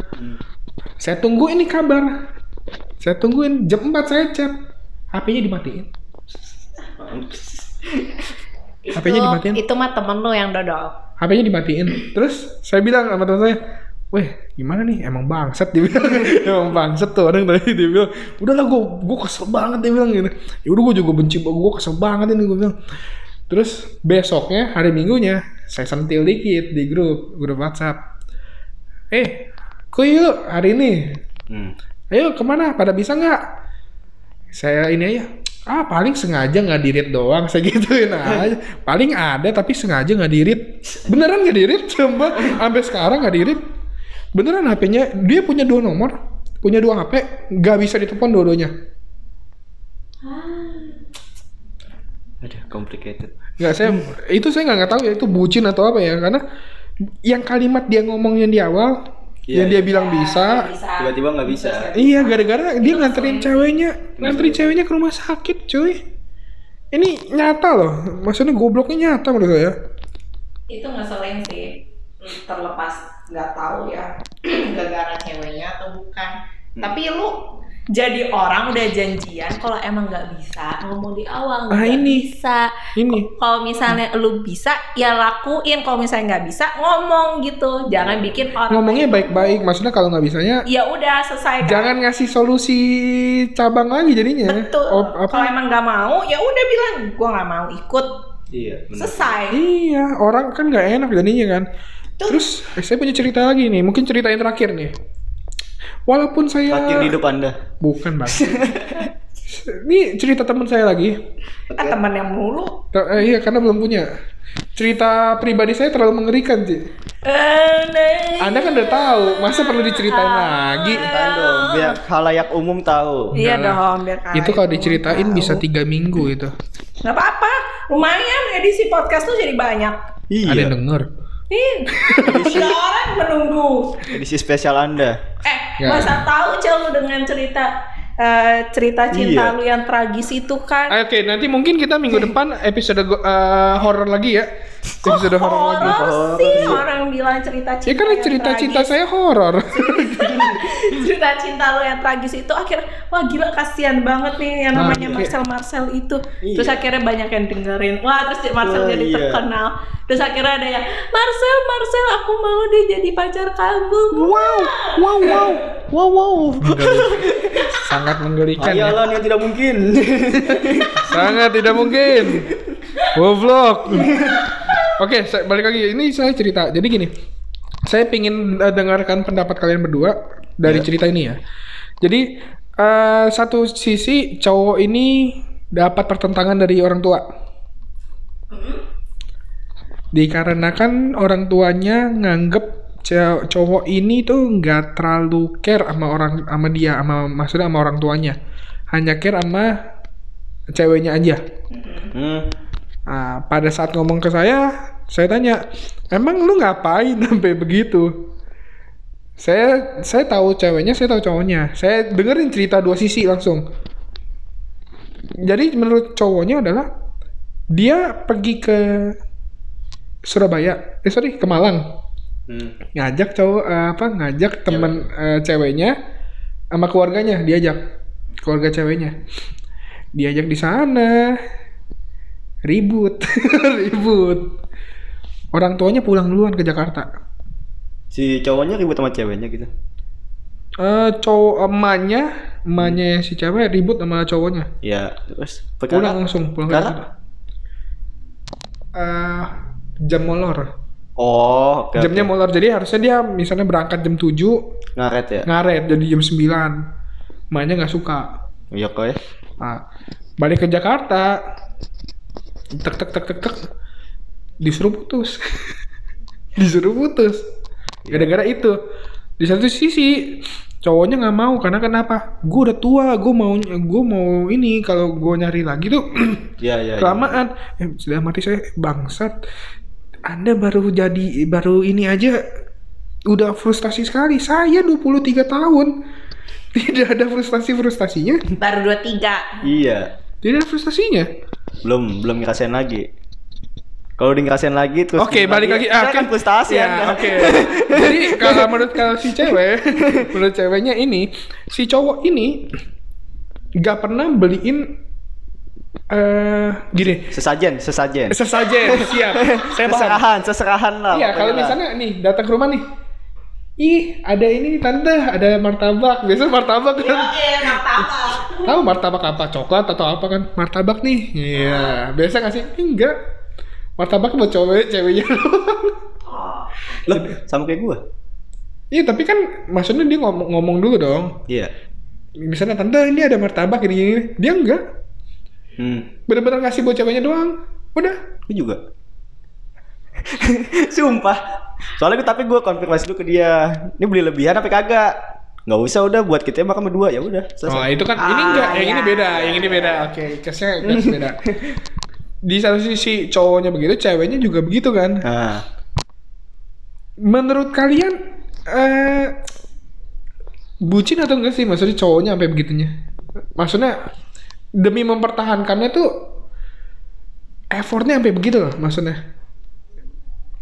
Speaker 2: Saya tungguin nih kabar. Saya tungguin jam 4 saya chat. HP-nya dimatiin. HP-nya dimatiin.
Speaker 4: itu mah temen lu yang dodol.
Speaker 2: HP-nya dimatiin. Terus saya bilang sama teman saya, "Weh, gimana nih? Emang bangsat dia bilang. Emang bangsat tuh orang tadi dia bilang, "Udahlah gua gua kesel banget dia bilang gitu. Ya udah gua juga benci banget, gua kesel banget ini gua bilang. Terus besoknya hari Minggunya saya sentil dikit di grup grup WhatsApp. Eh, kuy yuk hari ini
Speaker 1: Hmm.
Speaker 2: ayo kemana pada bisa nggak saya ini aja ah paling sengaja nggak dirit doang saya gituin aja paling ada tapi sengaja nggak dirit beneran nggak dirit coba sampai sekarang nggak dirit beneran HP-nya dia punya dua nomor punya dua HP nggak bisa ditelepon dua-duanya
Speaker 1: Aduh, complicated.
Speaker 2: nggak saya itu saya nggak nggak tahu ya itu bucin atau apa ya karena yang kalimat dia ngomongnya di awal
Speaker 1: Iya,
Speaker 2: yang dia bilang bisa
Speaker 1: Tiba-tiba nggak bisa.
Speaker 2: Iya, gara-gara dia
Speaker 3: iya.
Speaker 2: nganterin ceweknya, nganterin ceweknya ke rumah sakit, cuy. Ini nyata loh, maksudnya gobloknya nyata menurut saya.
Speaker 3: itu ngeselin sih terlepas nggak tahu ya gara-gara ceweknya atau bukan
Speaker 1: Hmm.
Speaker 3: tapi lu jadi orang udah janjian kalau emang nggak bisa ngomong di
Speaker 2: Ah,
Speaker 3: awal nggak
Speaker 2: ini.
Speaker 3: bisa
Speaker 2: Ini
Speaker 3: kalau misalnya lu bisa ya lakuin kalau misalnya nggak bisa ngomong gitu jangan bikin orang
Speaker 2: ngomongnya baik-baik, maksudnya kalau nggak bisanya
Speaker 3: ya udah selesai
Speaker 2: jangan ngasih solusi cabang lagi jadinya.
Speaker 3: betul
Speaker 2: Op-
Speaker 3: kalau
Speaker 2: Oh, apa?
Speaker 3: emang nggak mau ya udah bilang gua nggak mau ikut
Speaker 1: Iya, benar.
Speaker 3: selesai
Speaker 2: Iya, orang kan nggak enak jadinya kan.
Speaker 3: Tuh.
Speaker 2: Terus eh, saya punya cerita lagi nih, mungkin cerita yang terakhir nih. Walaupun saya
Speaker 1: Terakhir di hidup Anda.
Speaker 2: bukan bang. Ini cerita teman saya lagi.
Speaker 3: ah,
Speaker 2: Iya.
Speaker 3: temen yang mulu
Speaker 2: Ta- eh, iya karena belum punya. Cerita pribadi saya terlalu mengerikan sih.
Speaker 3: Eh, nah.
Speaker 2: Anda kan udah tahu, masa perlu diceritain lagi?
Speaker 1: Tahan dong, biar halayak umum tahu.
Speaker 3: Iya
Speaker 2: Enggak
Speaker 3: dong, biar kalian
Speaker 2: Itu kalau
Speaker 3: semua
Speaker 2: diceritain
Speaker 3: tahu.
Speaker 2: bisa tiga minggu itu.
Speaker 3: Nggak apa-apa, lumayan edisi podcast tuh jadi banyak.
Speaker 2: Ada yang
Speaker 1: Iya,
Speaker 2: denger.
Speaker 3: Nih, tiga orang menunggu.
Speaker 1: edisi spesial Anda.
Speaker 3: Eh,
Speaker 2: Nggak.
Speaker 3: masa tahu Cel lu dengan cerita eh, cerita cinta
Speaker 1: Iya.
Speaker 3: lu yang tragis itu kan?
Speaker 2: Ah, Oke, nanti mungkin kita minggu depan episode go- eh, horor lagi ya.
Speaker 3: Kok
Speaker 2: Episode horor lagi.
Speaker 1: Horor,
Speaker 3: sih
Speaker 1: iya.
Speaker 3: orang bilang cerita cinta.
Speaker 2: Ya karena
Speaker 3: yang
Speaker 2: cerita cinta
Speaker 3: tragis.
Speaker 2: saya horor.
Speaker 3: cerita cinta lu yang tragis itu akhirnya wah gila kasihan banget nih yang
Speaker 2: Nah,
Speaker 3: namanya
Speaker 2: iya.
Speaker 3: Marcel Marcel itu
Speaker 1: Iya.
Speaker 3: terus akhirnya banyak yang dengerin wah terus Marcel
Speaker 1: Wah,
Speaker 3: jadi
Speaker 1: iya.
Speaker 3: terkenal terus akhirnya ada yang Marcel Marcel aku mau deh jadi pacar kamu
Speaker 2: wow, wow, wow, wow, wow. Sangat menggelikan. ya.
Speaker 1: Hayalan yang tidak mungkin.
Speaker 2: Sangat tidak mungkin. Goblok. Oke, saya balik lagi. Ini saya cerita. Jadi gini, saya pingin eh, dengarkan pendapat kalian berdua dari cerita ini ya. Jadi eh, satu sisi cowok ini dapat pertentangan dari orang tua. Dikarenakan orang tuanya nganggep cow- cowok ini tuh nggak terlalu care sama orang sama dia sama maksudnya sama orang tuanya. Hanya care sama ceweknya aja.
Speaker 1: hmm.
Speaker 2: Nah, pada saat ngomong ke saya, saya tanya, emang lu ngapain sampai begitu? Saya saya tahu ceweknya, saya tahu cowoknya. Saya dengerin cerita dua sisi langsung. Jadi menurut cowoknya adalah dia pergi ke Surabaya, eh sorry ke Malang,
Speaker 1: Hmm.
Speaker 2: ngajak cowok eh, apa ngajak temen eh, ceweknya sama keluarganya diajak keluarga ceweknya diajak di sana ribut ribut orang tuanya pulang duluan ke Jakarta
Speaker 1: si cowoknya ribut sama ceweknya gitu
Speaker 2: Eh cowok emaknya, emaknya si cewek ribut sama cowoknya.
Speaker 1: ya terus
Speaker 2: Pulang langsung, pulang ke
Speaker 1: Perkara?
Speaker 2: Jakarta. Eh, jam molor.
Speaker 1: oh oke, oke.
Speaker 2: Jamnya molor. Jadi harusnya dia misalnya berangkat jam 7,
Speaker 1: ngaret ya
Speaker 2: ngaret jadi jam 9. Emaknya nggak suka.
Speaker 1: iya kok ya
Speaker 2: Nah, balik ke Jakarta. Tek tek tek tek tek. Disuruh putus. Disuruh putus. Gara-gara itu. Di satu sisi cowoknya nggak mau karena kenapa? Gue udah tua, gue mau gue mau ini kalau gue nyari lagi tuh
Speaker 1: iya iya iya.
Speaker 2: kelamaan. Eh, sudah mati saya bangsat. Anda baru jadi baru ini aja udah frustasi sekali. Saya 23 tahun. Tidak ada frustasi-frustasinya.
Speaker 3: Baru 23.
Speaker 1: iya
Speaker 2: Tidak ada frustasinya.
Speaker 1: belum belum ngerasain lagi kalau di ngerasain lagi terus
Speaker 2: Oke,
Speaker 1: ngerasain
Speaker 2: balik lagi. Ah,
Speaker 1: kan frustasi
Speaker 2: ya,
Speaker 1: Anda.
Speaker 2: Oke. Jadi kalau menurut kalau si cewek, menurut ceweknya ini, si cowok ini nggak pernah beliin eh gini
Speaker 1: sesajen sesajen
Speaker 2: sesajen siap saya paham
Speaker 1: seserahan seserahan lah
Speaker 2: iya
Speaker 1: pokoknya
Speaker 2: kalau
Speaker 1: lah.
Speaker 2: misalnya nih datang ke rumah nih ih ada ini nih, tante ada martabak biasa martabak kan
Speaker 1: Iya.
Speaker 3: Oke, martabak.
Speaker 2: tahu martabak apa coklat atau apa kan martabak nih iya biasa nggak sih enggak martabak buat cewek ceweknya doang.
Speaker 1: loh sama kayak gua
Speaker 2: Iya tapi kan maksudnya dia ngomong, ngomong dulu dong.
Speaker 1: iya
Speaker 2: Misalnya tante ini ada martabak gini gini. Dia enggak.
Speaker 1: hmm
Speaker 2: Bener-bener ngasih buat ceweknya doang. Udah.
Speaker 1: gua juga sumpah soalnya gua- tapi gua konfirmasi dulu ke dia ini beli lebihan apa kagak nggak usah udah buat kita makan berdua ya udah
Speaker 2: Oh
Speaker 1: selesai
Speaker 2: itu kan ini
Speaker 3: Ah,
Speaker 2: enggak. Yang
Speaker 3: iya.
Speaker 2: ini beda. Yang ini beda. Oke. Case-nya case beda. Di satu sisi cowoknya begitu, ceweknya juga begitu kan.
Speaker 1: nah
Speaker 2: Menurut kalian eh bucin atau enggak sih maksudnya cowoknya sampai begitunya? Maksudnya demi mempertahankannya tuh effortnya sampai begitu loh maksudnya.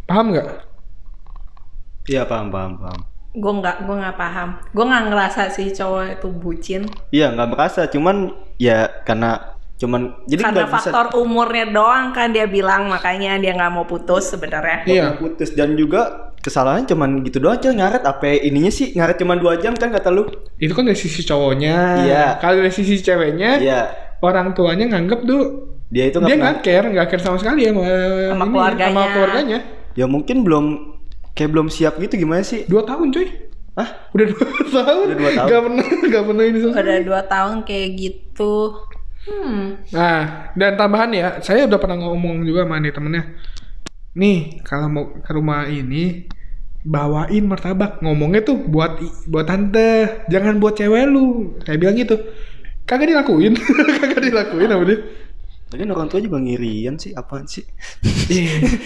Speaker 2: Paham nggak?
Speaker 1: iya paham paham paham
Speaker 3: Gue nggak, gue nggak paham. Gue nggak ngerasa sih cowok itu bucin.
Speaker 1: iya nggak merasa cuman ya karena cuman jadi
Speaker 3: Karena
Speaker 1: nggak bisa
Speaker 3: faktor umurnya doang kan dia bilang makanya dia nggak mau putus sebenarnya.
Speaker 2: Iya.
Speaker 1: Iya. putus dan juga kesalahannya cuman gitu doang aja ngaret apa ininya sih ngaret cuman dua jam kan kata lu
Speaker 2: Itu kan dari sisi cowoknya.
Speaker 1: Iya.
Speaker 2: Kalau dari sisi ceweknya,
Speaker 1: iya
Speaker 2: orang tuanya nganggep tuh
Speaker 1: dia itu
Speaker 2: dia
Speaker 1: nggak pernah
Speaker 2: nggak care, nggak care sama sekali sama, eh,
Speaker 3: Sama
Speaker 2: ini,
Speaker 3: keluarganya.
Speaker 2: Sama keluarganya.
Speaker 1: ya mungkin belum kayak belum siap gitu gimana sih
Speaker 2: Dua tahun cuy.
Speaker 1: Hah?
Speaker 2: Udah dua tahun.
Speaker 1: Udah dua tahun.
Speaker 2: Gak pernah, gak pernah ini
Speaker 1: Iya.
Speaker 2: sama.
Speaker 3: Udah dua tahun kayak gitu. Hmm.
Speaker 2: Nah, dan tambahan ya, saya udah pernah ngomong juga sama nih temennya. Nih, kalau mau ke rumah ini, bawain martabak. Ngomongnya tuh buat i- buat tante, jangan buat cewek lu. Saya bilang gitu. Kagak dilakuin, kagak dilakuin sama dia.
Speaker 1: Lagian orang tua juga ngirian sih apaan sih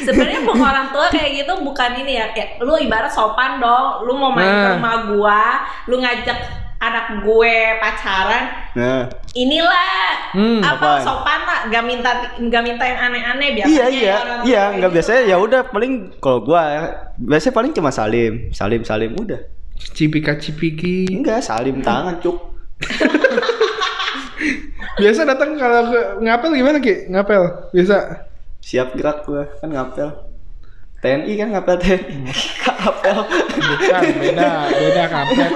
Speaker 3: Sebenarnya bukan orang tua kayak gitu bukan ini ya. Kayak lu ibarat sopan dong. Lu mau main ke
Speaker 2: Nah.
Speaker 3: rumah gua, lu ngajak anak gue pacaran,
Speaker 1: nah
Speaker 3: inilah
Speaker 2: Hmm,
Speaker 1: apaan?
Speaker 3: apa sopan lah nggak minta nggak minta yang aneh-aneh biasanya
Speaker 1: iya iya
Speaker 3: Ya, orang
Speaker 1: iya
Speaker 3: tua
Speaker 1: nggak
Speaker 3: gitu.
Speaker 1: biasanya ya udah paling kalau gua ya, biasanya paling cuma salim salim salim udah
Speaker 2: Cipika cipiki.
Speaker 1: enggak salim tangan cuk
Speaker 2: Biasa datang kalau ke ngapel gimana Ki? Ngapel. Biasa.
Speaker 1: siap gerak gua kan ngapel TNI kan ngapel TNI ngapel
Speaker 2: Bukan, beda, beda ngapel.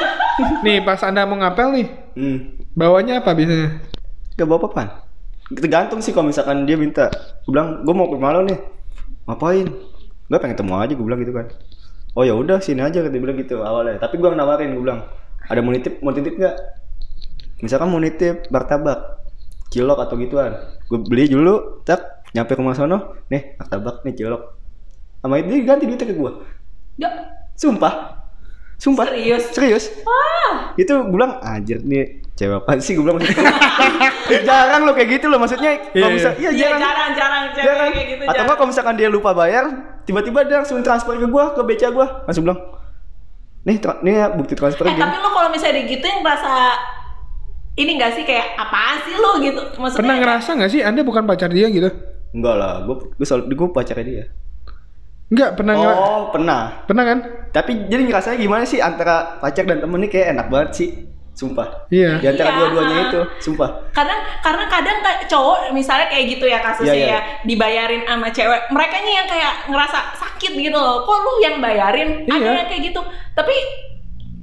Speaker 2: Nih, pas Anda mau ngapel nih,
Speaker 1: hmm
Speaker 2: bawanya apa biasanya?
Speaker 1: Gak bawa papan Tergantung sih kalau misalkan dia minta Gue bilang, gue mau ke rumah lo nih Ngapain? Gue pengen ketemu aja, gue bilang gitu kan Oh ya udah sini aja, dia bilang gitu awalnya Tapi gue nawarin, gue bilang Ada mau nitip, mau titip gak? Misalkan mau nitip martabak Cilok atau gituan Gue beli dulu, tak Nyampe rumah sono Nih, martabak, nih cilok Sama itu dia ganti duitnya ke gue
Speaker 3: Ya,
Speaker 1: Sumpah Sumpah
Speaker 3: Serius?
Speaker 1: Serius
Speaker 3: wah
Speaker 1: itu gue bilang anjir nih cewek apaan sih gue bilang jarang lo kayak gitu loh maksudnya
Speaker 2: Iya,
Speaker 1: kalau misal iya
Speaker 3: iya
Speaker 1: jarang
Speaker 3: jarang-jarang cewek
Speaker 1: jarang
Speaker 3: kayak gitu
Speaker 1: atau enggak
Speaker 3: jarang
Speaker 1: kalau misalkan dia lupa bayar tiba-tiba dia langsung transfer ke gue ke BCA gue langsung bilang nih tra- nih ya, bukti transfer
Speaker 3: eh tapi
Speaker 1: gini
Speaker 3: lo kalau misalnya digituin merasa ini gak sih kayak apaan sih lo gitu
Speaker 2: Pernah
Speaker 3: maksudnya
Speaker 2: ngerasa nggak sih Anda bukan pacar dia gitu?
Speaker 1: enggak lah gue gue selalu gue pacarnya dia
Speaker 2: Enggak, pernah ngera-
Speaker 1: oh pernah
Speaker 2: Pernah kan?
Speaker 1: tapi jadi ngerasanya gimana sih antara pacar dan temen nih kayak enak banget sih Sumpah.
Speaker 2: Iya.
Speaker 1: Di antara
Speaker 3: Iya.
Speaker 1: dua-duanya itu, sumpah.
Speaker 3: kadang karena kadang ta- cowok misalnya kayak gitu ya kasusnya
Speaker 1: Iya, iya.
Speaker 3: ya dibayarin sama cewek mereka yang kayak ngerasa sakit gitu loh kok lu yang bayarin ada
Speaker 2: Iya.
Speaker 3: yang kayak gitu tapi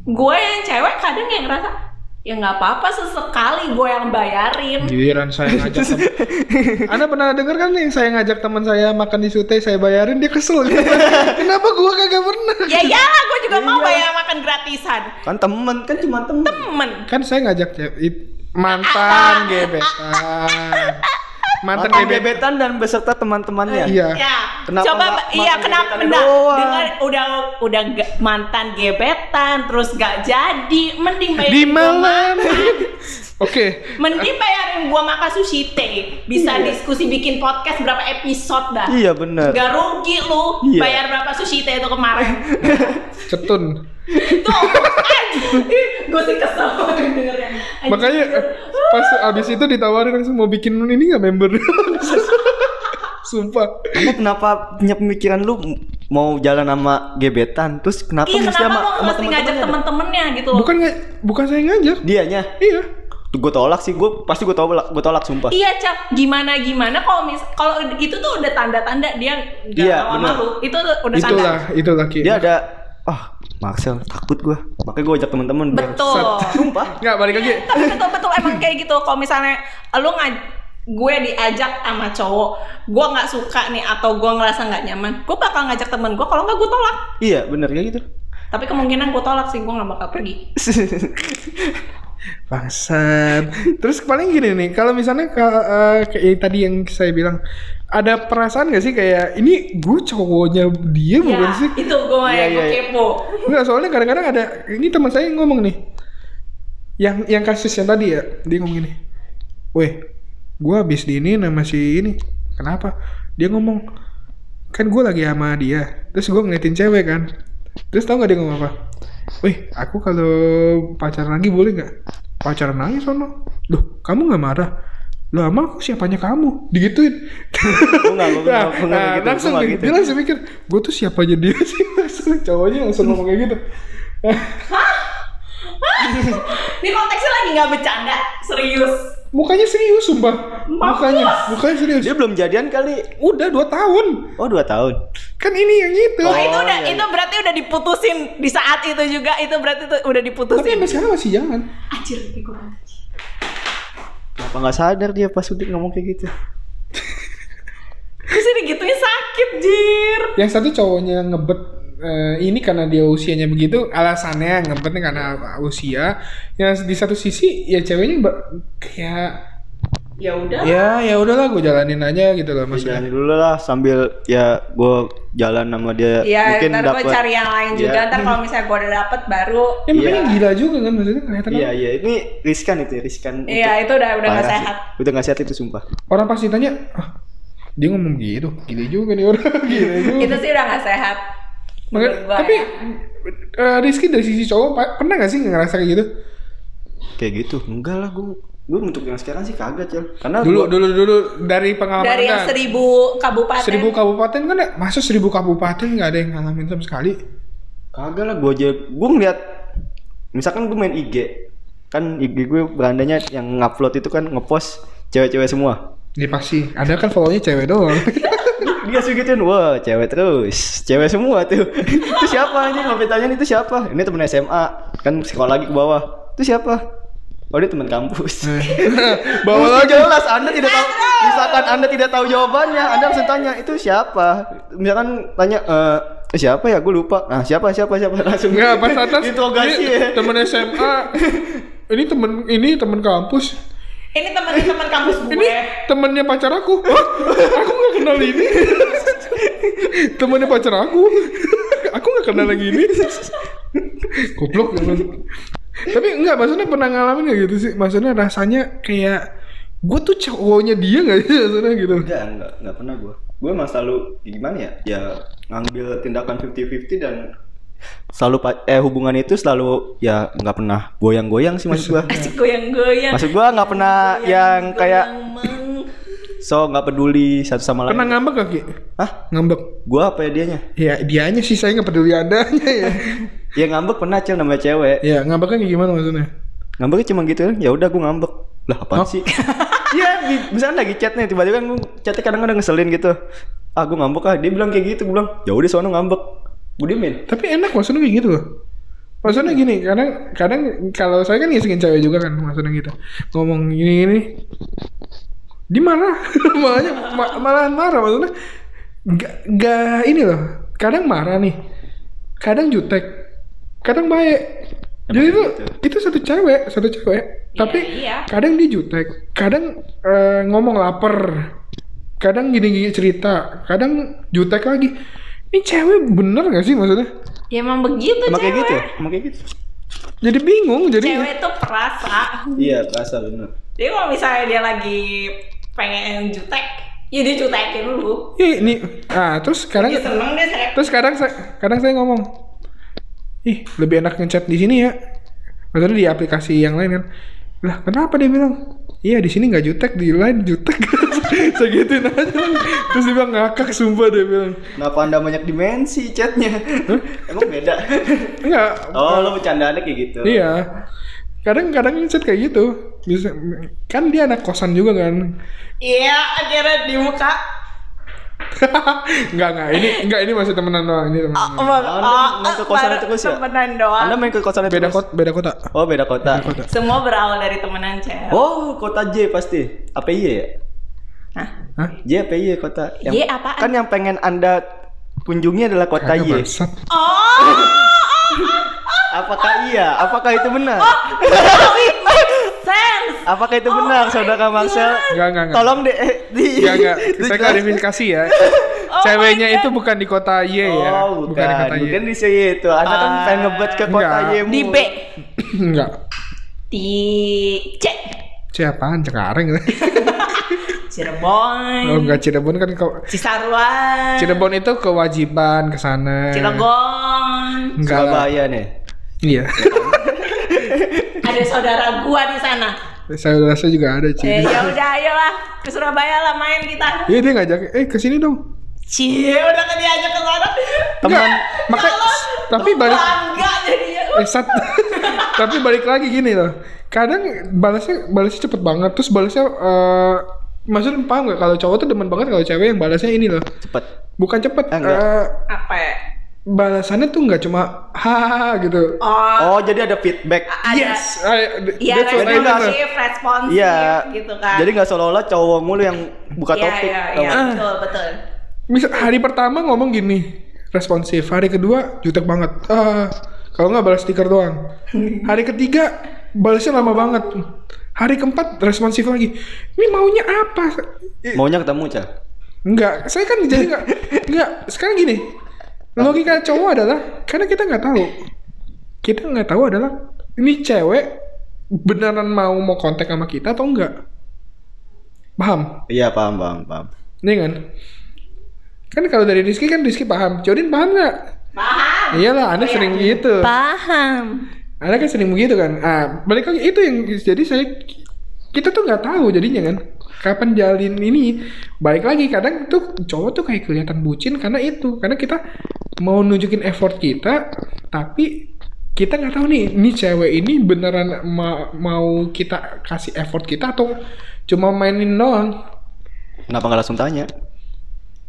Speaker 3: gue yang cewek kadang yang ngerasa ya nggak apa-apa sesekali gue yang bayarin
Speaker 1: Iya.
Speaker 2: Ya, Giliran saya ngajak temen. Anda pernah denger kan yang saya ngajak teman saya makan di sute, saya bayarin dia kesel. Kenapa gua kagak pernah?
Speaker 3: ya iyalah gue juga mau
Speaker 1: Iya.
Speaker 3: bayar makan gratisan
Speaker 1: Kan temen, kan cuma temen.
Speaker 3: temen
Speaker 2: Kan saya ngajak cewek- it- mantan gebetan.
Speaker 1: Mantan
Speaker 2: Mantan gebetan.
Speaker 1: gebetan dan beserta teman-temannya.
Speaker 2: Iya.
Speaker 3: ya
Speaker 1: Kenapa
Speaker 3: coba
Speaker 1: nggak
Speaker 3: iya
Speaker 1: makan
Speaker 3: kenapa
Speaker 1: gebetan
Speaker 3: enggak
Speaker 1: doang?
Speaker 3: dengan udah udah nggak- mantan gebetan terus gak jadi mending bayarin
Speaker 2: Di
Speaker 3: gua
Speaker 2: malam. Oke.
Speaker 3: Mending bayarin gua makan sushi teh. Bisa diskusi bikin podcast berapa episode dah.
Speaker 1: Iya bener.
Speaker 3: Gak rugi lu
Speaker 1: Iya.
Speaker 3: bayar berapa sushi teh itu kemarin.
Speaker 2: Cetun.
Speaker 3: Tuh, gue sih kesel banget dengernya. Anjing.
Speaker 2: Makanya eh, pas abis itu ditawarin langsung mau bikin ini nggak member? Sumpah.
Speaker 1: Kamu kenapa punya pemikiran lu m- mau jalan sama gebetan, terus kenapa
Speaker 3: Iya
Speaker 1: mesti sama,
Speaker 3: kenapa lo
Speaker 1: sama
Speaker 3: mesti ngajak
Speaker 1: teman-temannya?
Speaker 3: temen-temennya gitu loh
Speaker 2: Bukan nggak, bukan saya ngajak.
Speaker 1: Dianya,
Speaker 2: Iya.
Speaker 1: gue tolak sih, gue pasti gue tolak, gue tolak sumpah.
Speaker 3: Iya cak gimana gimana kalau mis kalau itu tuh udah tanda-tanda dia gak
Speaker 1: Iya,
Speaker 3: mau sama
Speaker 1: bener.
Speaker 3: lu itu tuh udah tanda
Speaker 2: Itulah, itulah Ki.
Speaker 1: Dia ada, ah Marcel takut gue, makanya gue ajak teman-teman. biar-
Speaker 3: betul.
Speaker 1: Sumpah.
Speaker 2: Nggak balik lagi.
Speaker 3: tapi betul betul emang kayak gitu kalau misalnya lu ngaj gue diajak sama cowok gue nggak suka nih atau gue ngerasa nggak nyaman gue bakal ngajak temen gue kalau nggak gue tolak
Speaker 1: Iya bener kayak gitu.
Speaker 3: tapi kemungkinan gue tolak sih gue nggak bakal pergi
Speaker 2: Bangsat. Terus paling gini nih, kalau misalnya ke, eh, kayak tadi yang saya bilang, ada perasaan gak sih kayak ini gue cowoknya dia bukan
Speaker 3: ya
Speaker 2: sih?
Speaker 3: itu gue
Speaker 1: Iya,
Speaker 3: yang
Speaker 1: iya,
Speaker 3: gua
Speaker 1: iya.
Speaker 3: kepo
Speaker 2: Enggak, soalnya kadang-kadang ada ini teman saya yang ngomong nih. Yang yang kasus yang tadi ya, dia ngomong gini. Weh, gua habis di ini sama si ini. Kenapa? Dia ngomong kan gue lagi sama dia. Terus gua ngeliatin cewek kan. Terus tau gak dia ngomong apa? Weh, aku kalau pacaran lagi boleh nggak? Pacaran lagi sono. Loh, kamu nggak marah? Loh, ama aku siapanya kamu? Digituin.
Speaker 1: Gue nggak, gue nggak, gue nggak
Speaker 2: Nah, nah,
Speaker 1: gitu.
Speaker 2: langsung
Speaker 1: gua nggak
Speaker 2: dia,
Speaker 1: gitu.
Speaker 2: dia langsung mikir, gue tuh siapa aja dia sih langsung cowoknya langsung ngomong kayak gitu.
Speaker 3: ini konteksnya lagi nggak bercanda serius
Speaker 2: Mukanya serius sumpah.
Speaker 3: Mampus.
Speaker 2: Mukanya, mukanya serius.
Speaker 1: Dia belum jadian kali.
Speaker 2: Udah 2 tahun.
Speaker 1: Oh dua tahun.
Speaker 2: Kan ini yang itu.
Speaker 3: oh, itu udah
Speaker 1: iya.
Speaker 3: itu berarti udah diputusin di saat itu juga itu berarti tuh udah
Speaker 2: Tapi
Speaker 3: diputusin
Speaker 2: sampai sekarang masih jangan.
Speaker 3: anjir tapi gua nggak ngerti.
Speaker 1: Kenapa nggak sadar dia pas udah ngomong kayak gitu?
Speaker 3: terus ini gitunya sakit jir
Speaker 2: Yang satu cowoknya ngebet eh, ini karena dia usianya begitu, alasannya ngebetnya karena usia. Yang di satu sisi ya ceweknya ba- kayak
Speaker 3: ya udah
Speaker 1: Iya,
Speaker 2: ya ya udahlah gue jalanin aja gitu loh
Speaker 1: Mas
Speaker 2: maksudnya.
Speaker 1: jalanin dulu lah sambil ya gue jalan sama dia
Speaker 3: Iya,
Speaker 1: mungkin
Speaker 3: ntar gue
Speaker 1: dapat.
Speaker 3: cari yang lain
Speaker 1: Iya.
Speaker 3: juga. Ntar kalau misalnya gue udah dapet baru,
Speaker 2: Ya makanya
Speaker 1: Iya.
Speaker 2: gila juga kan maksudnya kelihatan
Speaker 1: Iya iya ini riskan itu ya, riskan.
Speaker 3: iya itu udah udah gak
Speaker 1: Parah sih.
Speaker 3: sehat.
Speaker 1: Udah gak sehat itu sumpah.
Speaker 2: orang pasti tanya ah, dia ngomong gitu gila juga nih orang gila juga
Speaker 3: Itu sih udah gak sehat.
Speaker 2: Maka-
Speaker 3: Menurut gua
Speaker 2: tapi
Speaker 3: ya.
Speaker 2: eh, Rizky dari sisi cowok pa- pernah gak sih ngerasa kayak gitu
Speaker 1: Kayak gitu. Enggak lah gue gue untuk yang sekarang sih kagak cel. Karena
Speaker 2: dulu
Speaker 1: gua-
Speaker 2: dulu dulu dari pengalaman
Speaker 3: dari yang
Speaker 2: kan,
Speaker 3: seribu kabupaten,
Speaker 2: seribu kabupaten kan ya masa seribu kabupaten nggak ada yang ngalamin sama sekali
Speaker 1: kagak lah gue aja gue ngeliat misalkan gue main IG kan IG gue berandanya yang ngupload itu kan ngepost cewek-cewek semua.
Speaker 2: ya pasti ada kan follow-nya cewek doang
Speaker 1: Dia langsung gituin, wah cewek terus, cewek semua tuh. itu siapa anjing? Ngapain tanyain itu siapa? Ini temen SMA, kan sekolah lagi ke bawah. Itu siapa? Oh dia teman kampus.
Speaker 2: Eh. bawa
Speaker 1: Mesti
Speaker 2: lagi
Speaker 1: jelas Anda tidak tahu misalkan Anda tidak tahu jawabannya Anda langsung tanya itu siapa misalkan tanya eh siapa ya gue lupa nah siapa siapa siapa langsung
Speaker 2: nggak pas atas Iya.
Speaker 1: interogasi
Speaker 2: ini
Speaker 1: ya
Speaker 2: temen SMA ini temen ini temen kampus
Speaker 3: Ini teman-teman kampus gue.
Speaker 2: ini temennya pacar aku Hah? aku nggak kenal ini temennya pacar aku aku nggak kenal lagi ini goblok emang. tapi enggak maksudnya pernah ngalamin nggak gitu sih maksudnya rasanya kayak gue tuh cowoknya dia nggak sih maksudnya gitu
Speaker 1: enggak enggak enggak pernah gue gue emang selalu gimana ya ya ngambil tindakan 50-50 dan selalu pa- eh hubungan itu selalu ya nggak pernah goyang-goyang sih maksud gue
Speaker 3: Asik goyang-goyang.
Speaker 1: maksud gue nggak pernah yang kayak so nggak peduli satu sama
Speaker 2: pernah
Speaker 1: lain
Speaker 2: ngambek gak Ki?
Speaker 1: Hah?
Speaker 2: ngambek
Speaker 1: gue apa ya dianya
Speaker 2: ya dianya sih saya nggak peduli adanya ya
Speaker 1: ya ngambek pernah cel namanya cewek
Speaker 2: ya ngambeknya kayak gimana maksudnya
Speaker 1: ngambeknya cuma gitu ya udah gue ngambek lah apaan
Speaker 2: Oh.
Speaker 1: sih Iya, di- misalnya lagi chat nih, tiba-tiba kan gue chatnya kadang-kadang ngeselin gitu. Ah, gue ngambek ah. Dia bilang kayak gitu, gue bilang, ya udah sono ngambek. Gue diemin.
Speaker 2: Tapi enak maksudnya kayak gitu loh. Maksudnya gini, kadang kadang kalau saya kan ngisengin cewek juga kan maksudnya gitu. Ngomong gini gini. Di mana? Malahnya ma- malahan marah maksudnya. Gak, gak ini loh. Kadang marah nih. Kadang jutek. Kadang baik. Jadi itu itu satu cewek, satu cewek. Tapi
Speaker 3: iya.
Speaker 2: kadang dia jutek, kadang eh, ngomong lapar, kadang gini-gini cerita, kadang jutek lagi. Ini cewek bener gak sih maksudnya?
Speaker 3: Ya emang begitu
Speaker 1: Emang kayak
Speaker 3: cewek.
Speaker 1: gitu ya? Emang kayak gitu?
Speaker 2: Jadi bingung, jadi
Speaker 3: Cewek tuh perasa.
Speaker 1: Iya, rasa bener.
Speaker 3: Jadi kalau misalnya dia lagi pengen jutek, ya dia jutekin lu.
Speaker 2: Ih, ini ah terus sekarang
Speaker 3: Dia seneng dia saya.
Speaker 2: terus kadang saya kadang saya ngomong ih lebih enak ngechat di sini ya maksudnya di aplikasi yang lain kan lah kenapa dia bilang iya di sini nggak jutek di lain jutek segituin aja terus dia bilang ngakak sumpah dia bilang
Speaker 1: Kenapa anda banyak dimensi chatnya? Emang beda?
Speaker 2: enggak
Speaker 1: Oh, lo bercandaannya kayak gitu.
Speaker 2: iya kadang-kadang ngechat kayak gitu bisa kan dia anak kosan juga kan
Speaker 3: Iya, akhirnya dibuka.
Speaker 2: nggak nggak ini nggak ini masih temenan doang ini temenan
Speaker 3: Oh, oh,
Speaker 1: Hmm. Anda main ke kosan
Speaker 3: baru
Speaker 1: terus ya?
Speaker 3: Temenan doang.
Speaker 1: Anda main ke kosan
Speaker 2: beda kota beda kota
Speaker 1: Oh, beda kota.
Speaker 3: Semua berawal dari temenan cewek.
Speaker 1: Oh, kota J pasti. Apa iya ya?
Speaker 3: Hah?
Speaker 2: Hah?
Speaker 1: J apa iya kota?
Speaker 3: J apaan?
Speaker 1: Kan yang pengen anda kunjungi adalah kota
Speaker 2: Kagak,
Speaker 1: Y.
Speaker 2: bangsat.
Speaker 3: Oh,
Speaker 1: Apakah iya? Apakah itu benar?
Speaker 3: oh, it makes sense.
Speaker 1: Apakah itu benar,
Speaker 3: iya.
Speaker 1: saudara Marcel?
Speaker 2: Enggak, enggak, enggak.
Speaker 1: Tolong deh. eh, Di,
Speaker 2: Enggak, enggak. Iya, Saya
Speaker 1: dijelaskan.
Speaker 2: klarifikasi ya.
Speaker 3: Oh
Speaker 2: Ceweknya
Speaker 3: my God.
Speaker 2: itu bukan di kota Y ya.
Speaker 1: Oh, bukan.
Speaker 2: di kota Y.
Speaker 1: Mungkin di sini itu. Anda kan
Speaker 3: Ah.
Speaker 1: pengen ngebet ke kota
Speaker 2: Enggak.
Speaker 1: Yemu.
Speaker 3: Di B,
Speaker 2: enggak.
Speaker 3: di C,
Speaker 2: Siapaan Cengkareng.
Speaker 3: Cirebon,
Speaker 2: oh, enggak Cirebon kan ke
Speaker 3: Cisarua,
Speaker 2: Cirebon itu kewajiban ke sana.
Speaker 3: Cilegon.
Speaker 2: Enggak lah.
Speaker 1: Surabaya nih.
Speaker 2: Iya.
Speaker 3: Ada saudara gua di sana.
Speaker 2: Saya rasa juga ada
Speaker 3: Eh,
Speaker 2: Cirebon.
Speaker 3: ya udah ayolah ke Surabaya lah main kita.
Speaker 2: Iya dia ngajak, eh kesini dong.
Speaker 3: Cie, udah kan diajak ke sana.
Speaker 1: Teman,
Speaker 2: Enggak, maka
Speaker 3: Kalau
Speaker 2: tapi balik
Speaker 3: bangga ya. jadinya.
Speaker 2: eh, sat- tapi balik lagi gini loh. Kadang balasnya balasnya cepet banget, terus balasnya eh maksudnya paham gak kalau cowok tuh demen banget kalau cewek yang balasnya ini loh.
Speaker 1: Cepet.
Speaker 2: Bukan cepet,
Speaker 1: Ah, enggak.
Speaker 2: eh,
Speaker 3: Apa? ya?
Speaker 2: balasannya tuh nggak cuma hahaha gitu.
Speaker 1: Oh,
Speaker 3: Oh,
Speaker 1: jadi ada feedback.
Speaker 3: ada.
Speaker 2: yes, I, th-
Speaker 3: Iya,
Speaker 2: that's
Speaker 1: responsive.
Speaker 2: what I mean.
Speaker 3: responsif, responsif
Speaker 1: Iya.
Speaker 3: gitu kan.
Speaker 1: Jadi nggak seolah-olah cowok mulu yang buka
Speaker 3: Iya,
Speaker 1: topik.
Speaker 3: Iya,
Speaker 1: tau
Speaker 3: iya,
Speaker 1: nggak?
Speaker 3: betul, betul.
Speaker 2: Misal hari pertama ngomong gini, responsif. Hari kedua jutek banget. Ah, kalau nggak balas stiker doang. Hari ketiga balasnya lama banget. Hari keempat responsif lagi. Ini maunya apa? Eh,
Speaker 1: Maunya ketemu, Cah.
Speaker 2: Nggak, saya kan jadi nggak. Nggak. Sekarang gini, logika cowok adalah karena kita nggak tahu. Kita nggak tahu adalah ini cewek beneran mau mau kontak sama kita atau enggak. Paham?
Speaker 1: Iya, paham, paham, paham.
Speaker 2: Iya kan? Kan kalau dari Rizky kan Rizky paham. Jodin paham nggak?
Speaker 3: Paham.
Speaker 2: Iyalah, Anda sering gitu.
Speaker 3: Paham.
Speaker 2: Anda kan sering begitu kan? Ah, balik lagi itu yang jadi saya kita tuh nggak tahu jadinya kan kapan jalin ini balik lagi kadang tuh cowok tuh kayak kelihatan bucin karena itu karena kita mau nunjukin effort kita tapi kita nggak tahu nih ini cewek ini beneran ma- mau kita kasih effort kita atau cuma mainin doang
Speaker 1: Kenapa nggak langsung tanya?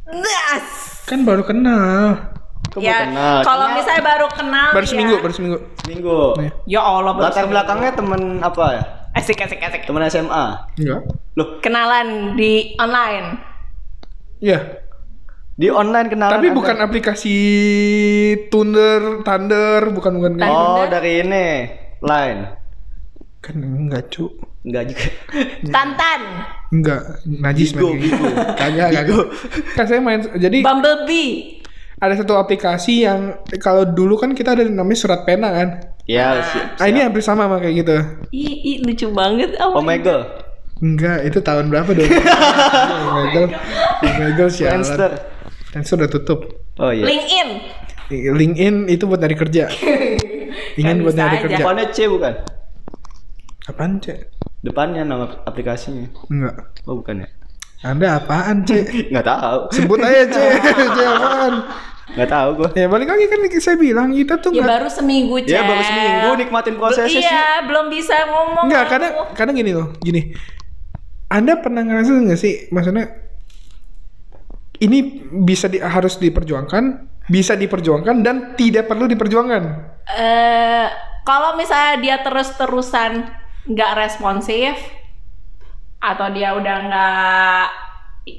Speaker 3: Das.
Speaker 2: kan baru kenal
Speaker 1: Kok
Speaker 3: Ya,
Speaker 1: mau kenal?
Speaker 3: kalau
Speaker 1: Kenal
Speaker 3: misalnya baru kenal
Speaker 2: baru
Speaker 3: ya.
Speaker 2: seminggu baru seminggu
Speaker 1: Minggu.
Speaker 2: Nih.
Speaker 3: Ya Allah,
Speaker 1: Latar
Speaker 3: baru seminggu.
Speaker 1: belakangnya temen apa ya?
Speaker 3: Asik, asik, asik.
Speaker 1: Temen SMA.
Speaker 2: enggak
Speaker 1: Loh,
Speaker 3: Kenalan di online.
Speaker 2: Iya,
Speaker 1: di online kenalan.
Speaker 2: tapi
Speaker 1: Anda.
Speaker 2: bukan aplikasi Thunder, Thunder, bukan bukan
Speaker 3: Lain
Speaker 1: Oh,
Speaker 3: Anda?
Speaker 1: dari ini. Line.
Speaker 2: kan enggak cu,
Speaker 1: Enggak juga.
Speaker 3: Tantan,
Speaker 2: enggak najis
Speaker 1: Bigo,
Speaker 2: men.
Speaker 1: Bigo.
Speaker 2: kagak kagak. Kan saya main jadi
Speaker 3: Bumblebee.
Speaker 2: ada satu aplikasi yang kalau dulu kan kita ada namanya surat pena kan.
Speaker 1: Ya, si-
Speaker 2: Ah ini hampir sama sama kayak gitu.
Speaker 3: Ih, ih, lucu banget. Oh, my
Speaker 1: Omegle.
Speaker 2: Enggak, itu tahun berapa dong? Omegle, Omegle sialan.
Speaker 1: Friendster.
Speaker 2: Friendster udah tutup.
Speaker 1: Oh iya.
Speaker 3: LinkedIn.
Speaker 2: LinkedIn itu buat nyari kerja. Ingin
Speaker 3: Kan
Speaker 2: buat
Speaker 3: bisa
Speaker 2: nyari
Speaker 3: aja.
Speaker 2: kerja.
Speaker 1: Depannya C bukan?
Speaker 2: Apaan cek?
Speaker 1: Depannya nama aplikasinya.
Speaker 2: Enggak.
Speaker 1: Oh bukan ya?
Speaker 2: Anda apaan cek?
Speaker 1: Nggak tahu.
Speaker 2: Sebut aja C, C apaan?
Speaker 1: Nggak tahu gua.
Speaker 2: Ya balik lagi kan saya bilang kita tuh
Speaker 3: Ya
Speaker 2: nggak
Speaker 3: baru seminggu,
Speaker 1: Ya,
Speaker 3: Cel.
Speaker 1: baru seminggu, nikmatin prosesnya sih.
Speaker 3: Be- Iya, belum bisa ngomong.
Speaker 2: nggak
Speaker 3: aku.
Speaker 2: kadang kadang gini loh, gini. Anda pernah ngerasa nggak sih maksudnya ini bisa di, harus diperjuangkan, bisa diperjuangkan dan tidak perlu diperjuangkan.
Speaker 3: Eh, kalau misalnya dia terus-terusan nggak responsif atau dia udah nggak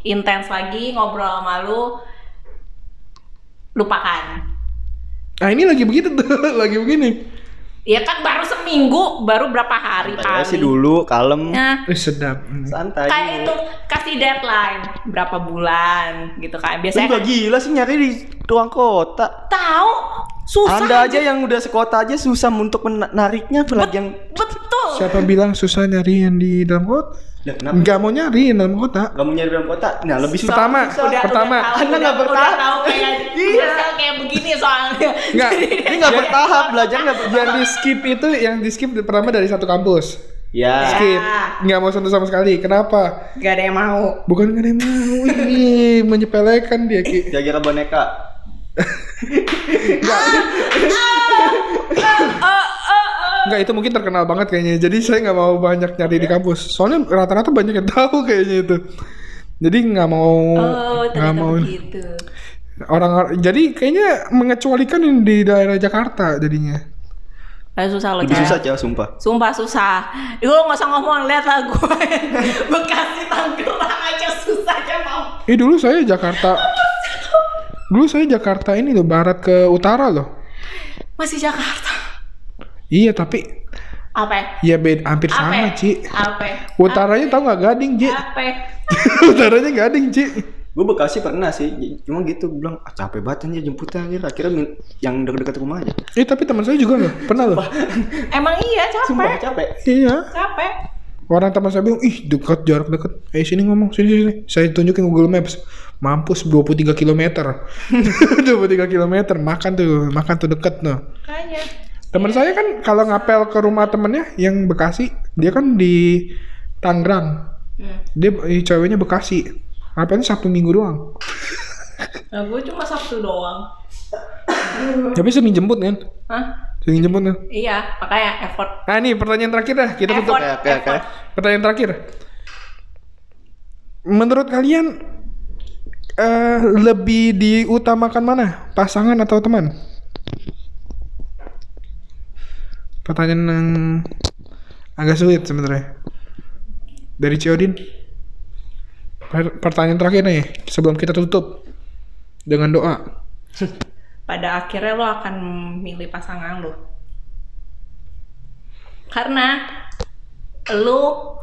Speaker 3: intens lagi ngobrol sama lu, lupakan.
Speaker 2: Nah ini lagi begitu tuh, lagi begini.
Speaker 3: Ya kan baru seminggu, baru berapa hari
Speaker 1: Saya
Speaker 3: kali.
Speaker 1: sih dulu kalem,
Speaker 3: Nah,
Speaker 2: Eh, sedap.
Speaker 1: santai.
Speaker 3: kayak itu kasih deadline berapa bulan gitu kan.
Speaker 1: Lu juga
Speaker 3: Biasanya kan
Speaker 1: gila sih nyari di ruang kota.
Speaker 3: tahu susah.
Speaker 1: Anda aja yang udah sekota aja susah untuk menariknya apalagi yang
Speaker 3: Betul.
Speaker 2: Siapa bilang susah nyari yang di dalam kota?
Speaker 1: Lah, kenapa?
Speaker 2: Nggak mau nyari yang dalam kota.
Speaker 1: Gak mau nyari ruang kota. Nah, lebih susah.
Speaker 2: Pertama,
Speaker 3: udah,
Speaker 2: pertama.
Speaker 3: udah tahu,
Speaker 1: Anda
Speaker 3: udah-
Speaker 1: nggak bertahan.
Speaker 3: udah tahu kayak
Speaker 1: Iya.
Speaker 3: iya. kayak begini soalnya
Speaker 2: Nggak,
Speaker 1: Ini nggak bertahap belajar nggak
Speaker 2: yang
Speaker 1: berjalan.
Speaker 2: di skip itu yang di skip pertama dari satu kampus.
Speaker 1: Ya.
Speaker 2: Skip, nggak mau sentuh sama sekali. Kenapa?
Speaker 3: gak ada yang mau
Speaker 2: Bukan nggak ada yang mau ini menyepelekan dia Ki.
Speaker 1: Jaga boneka.
Speaker 2: Enggak itu mungkin terkenal banget kayaknya. Jadi saya nggak mau banyak nyari
Speaker 3: Iya.
Speaker 2: di kampus. Soalnya rata-rata banyak yang tahu kayaknya itu. Jadi nggak mau
Speaker 3: oh
Speaker 2: nggak
Speaker 3: ternyata
Speaker 2: mau
Speaker 3: begitu
Speaker 2: orang, orang jadi kayaknya mengecualikan yang di daerah Jakarta jadinya.
Speaker 3: Ah, susah loh
Speaker 1: Lebih
Speaker 3: Cel.
Speaker 1: susah cewek sumpah.
Speaker 3: Sumpah susah. Lu nggak usah ngomong lihat lah gue. Bekasi Tangerang aja susah aja mau.
Speaker 2: Eh dulu saya Jakarta. Dulu saya Jakarta ini loh barat ke utara loh.
Speaker 3: Masih Jakarta.
Speaker 2: Iya tapi
Speaker 3: Apa? ya?
Speaker 2: ya beda hampir
Speaker 3: Apa? ya?
Speaker 2: sama Ci.
Speaker 3: Apa? ya?
Speaker 2: Utaranya tahu nggak gading Ci?
Speaker 3: Apa? ya?
Speaker 2: Utaranya gading Ci.
Speaker 1: Gue Bekasi pernah sih, j- cuma gitu gue bilang ah, capek banget anjir jemputnya anjir akhirnya min- yang dekat-dekat rumah aja.
Speaker 2: Eh tapi teman saya juga loh pernah loh.
Speaker 3: Emang iya
Speaker 1: Sumpah
Speaker 3: capek.
Speaker 1: capek.
Speaker 2: Iya.
Speaker 3: Capek.
Speaker 2: Orang teman saya bilang, ih dekat jarak dekat. Eh sini ngomong sini sini. Saya tunjukin Google Maps. Mampus 23 km. 23 km. Makan tuh, makan tuh deket tuh.
Speaker 3: Kayaknya.
Speaker 2: Teman saya kan kalau ngapel ke rumah temennya yang Bekasi, dia kan di Tangerang.
Speaker 3: Hmm.
Speaker 2: Dia eh, ceweknya Bekasi. Ngapelnya Sabtu Minggu doang.
Speaker 3: Nah, gue cuma Sabtu doang.
Speaker 2: Tapi sering jemput kan?
Speaker 3: Hah?
Speaker 2: Sering jemput kan?
Speaker 3: Iya, makanya effort.
Speaker 2: Nah ini pertanyaan terakhir dah. Kita tutup.
Speaker 1: Oke,
Speaker 3: effort,
Speaker 1: oke, oke.
Speaker 3: effort.
Speaker 2: Pertanyaan terakhir. Menurut kalian eh lebih diutamakan mana? Pasangan atau teman? Pertanyaan yang agak sulit sebenarnya. Dari Ciodin. Per- pertanyaan terakhir nih sebelum kita tutup dengan doa.
Speaker 3: pada akhirnya lo akan milih pasangan lo karena lo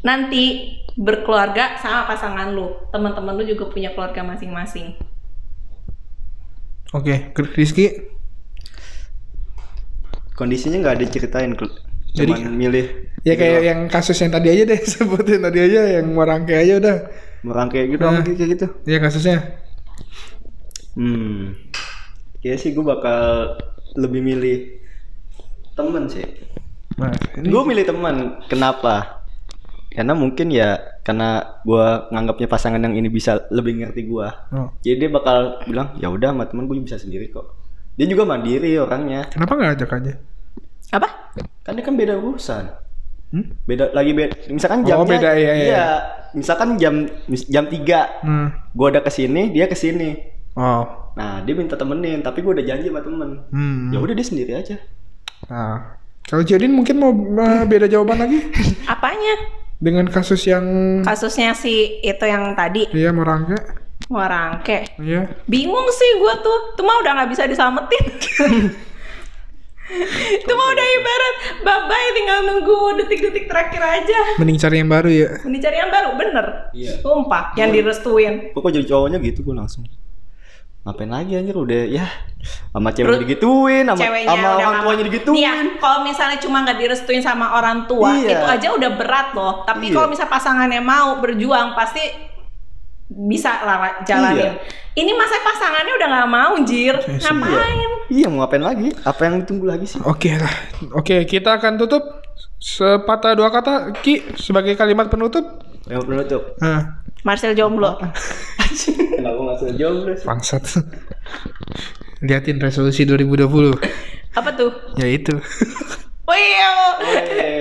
Speaker 3: nanti berkeluarga sama pasangan lo teman-teman lo juga punya keluarga masing-masing
Speaker 2: Oke, Rizky.
Speaker 1: Kondisinya nggak ada ceritain, Kl-
Speaker 2: Jadi-
Speaker 1: cuman milih.
Speaker 2: Ya
Speaker 1: gitu
Speaker 2: kayak
Speaker 1: doang.
Speaker 2: yang kasus yang tadi aja deh, sebutin tadi aja yang merangkai aja udah.
Speaker 1: merangkai gitu, doang,
Speaker 2: Nah.
Speaker 1: kayak gitu.
Speaker 2: Ya kasusnya.
Speaker 1: Hmm. Kayaknya sih gue bakal lebih milih temen sih.
Speaker 2: Nah, ini
Speaker 1: Gue milih temen. Kenapa? Karena mungkin ya karena gue nganggapnya pasangan yang ini bisa lebih ngerti gue.
Speaker 2: Oh.
Speaker 1: Jadi dia bakal bilang ya udah sama temen gue bisa sendiri kok. Dia juga mandiri orangnya.
Speaker 2: Kenapa nggak ajak aja?
Speaker 3: apa
Speaker 1: Kan dia kan beda urusan.
Speaker 2: Hmm?
Speaker 1: Beda lagi beda. Misalkan
Speaker 2: Oh,
Speaker 1: jamnya.
Speaker 2: beda, iya, iya.
Speaker 1: Iya. Misalkan jam mis- jam 3
Speaker 2: Hmm.
Speaker 1: gue ada kesini, dia kesini.
Speaker 2: Oh.
Speaker 1: Nah dia minta temenin, tapi gue udah janji sama temen.
Speaker 2: Hmm.
Speaker 1: Ya udah dia sendiri aja.
Speaker 2: Nah, kalau Jodin mungkin mau eh, beda jawaban lagi
Speaker 3: apanya
Speaker 2: dengan kasus yang
Speaker 3: kasusnya si itu yang tadi
Speaker 2: dia merangkai.
Speaker 3: merangke
Speaker 2: Iya.
Speaker 3: bingung sih gue tuh tuh mah udah nggak bisa diselamatin tuh mah udah ibarat bye bye tinggal nunggu detik-detik terakhir aja
Speaker 2: Mending cari yang baru ya.
Speaker 3: Mending cari yang baru, bener.
Speaker 1: Iya.
Speaker 3: Sumpah, yang direstuin.
Speaker 1: Gue kok jadi cowoknya gitu gue langsung ngapain lagi anjir udah ya sama cewek digituin sama
Speaker 3: Ceweknya
Speaker 1: sama
Speaker 3: udah
Speaker 1: orang
Speaker 3: lama.
Speaker 1: tuanya digituin
Speaker 3: Iya, kalau misalnya cuma nggak direstuin sama orang tua,
Speaker 1: Iya.
Speaker 3: itu aja udah berat loh. Tapi
Speaker 1: Iya.
Speaker 3: kalau misalnya pasangannya mau berjuang, pasti bisa lah jalanin. Ini masa pasangannya udah nggak mau, Jir.
Speaker 2: Yes,
Speaker 3: Ngapain?
Speaker 1: Iya. iya mau ngapain lagi apa yang ditunggu lagi sih
Speaker 2: Oke lah. Oke, kita akan tutup sepatah dua kata Ki sebagai kalimat penutup.
Speaker 1: yang penutup
Speaker 2: Nah,
Speaker 3: Marcel jomblo.
Speaker 1: Kenapa nggak jomblo sih?
Speaker 2: Bangsat. Liatin resolusi 2020.
Speaker 3: Apa tuh?
Speaker 2: Ya itu.
Speaker 3: Oh iya,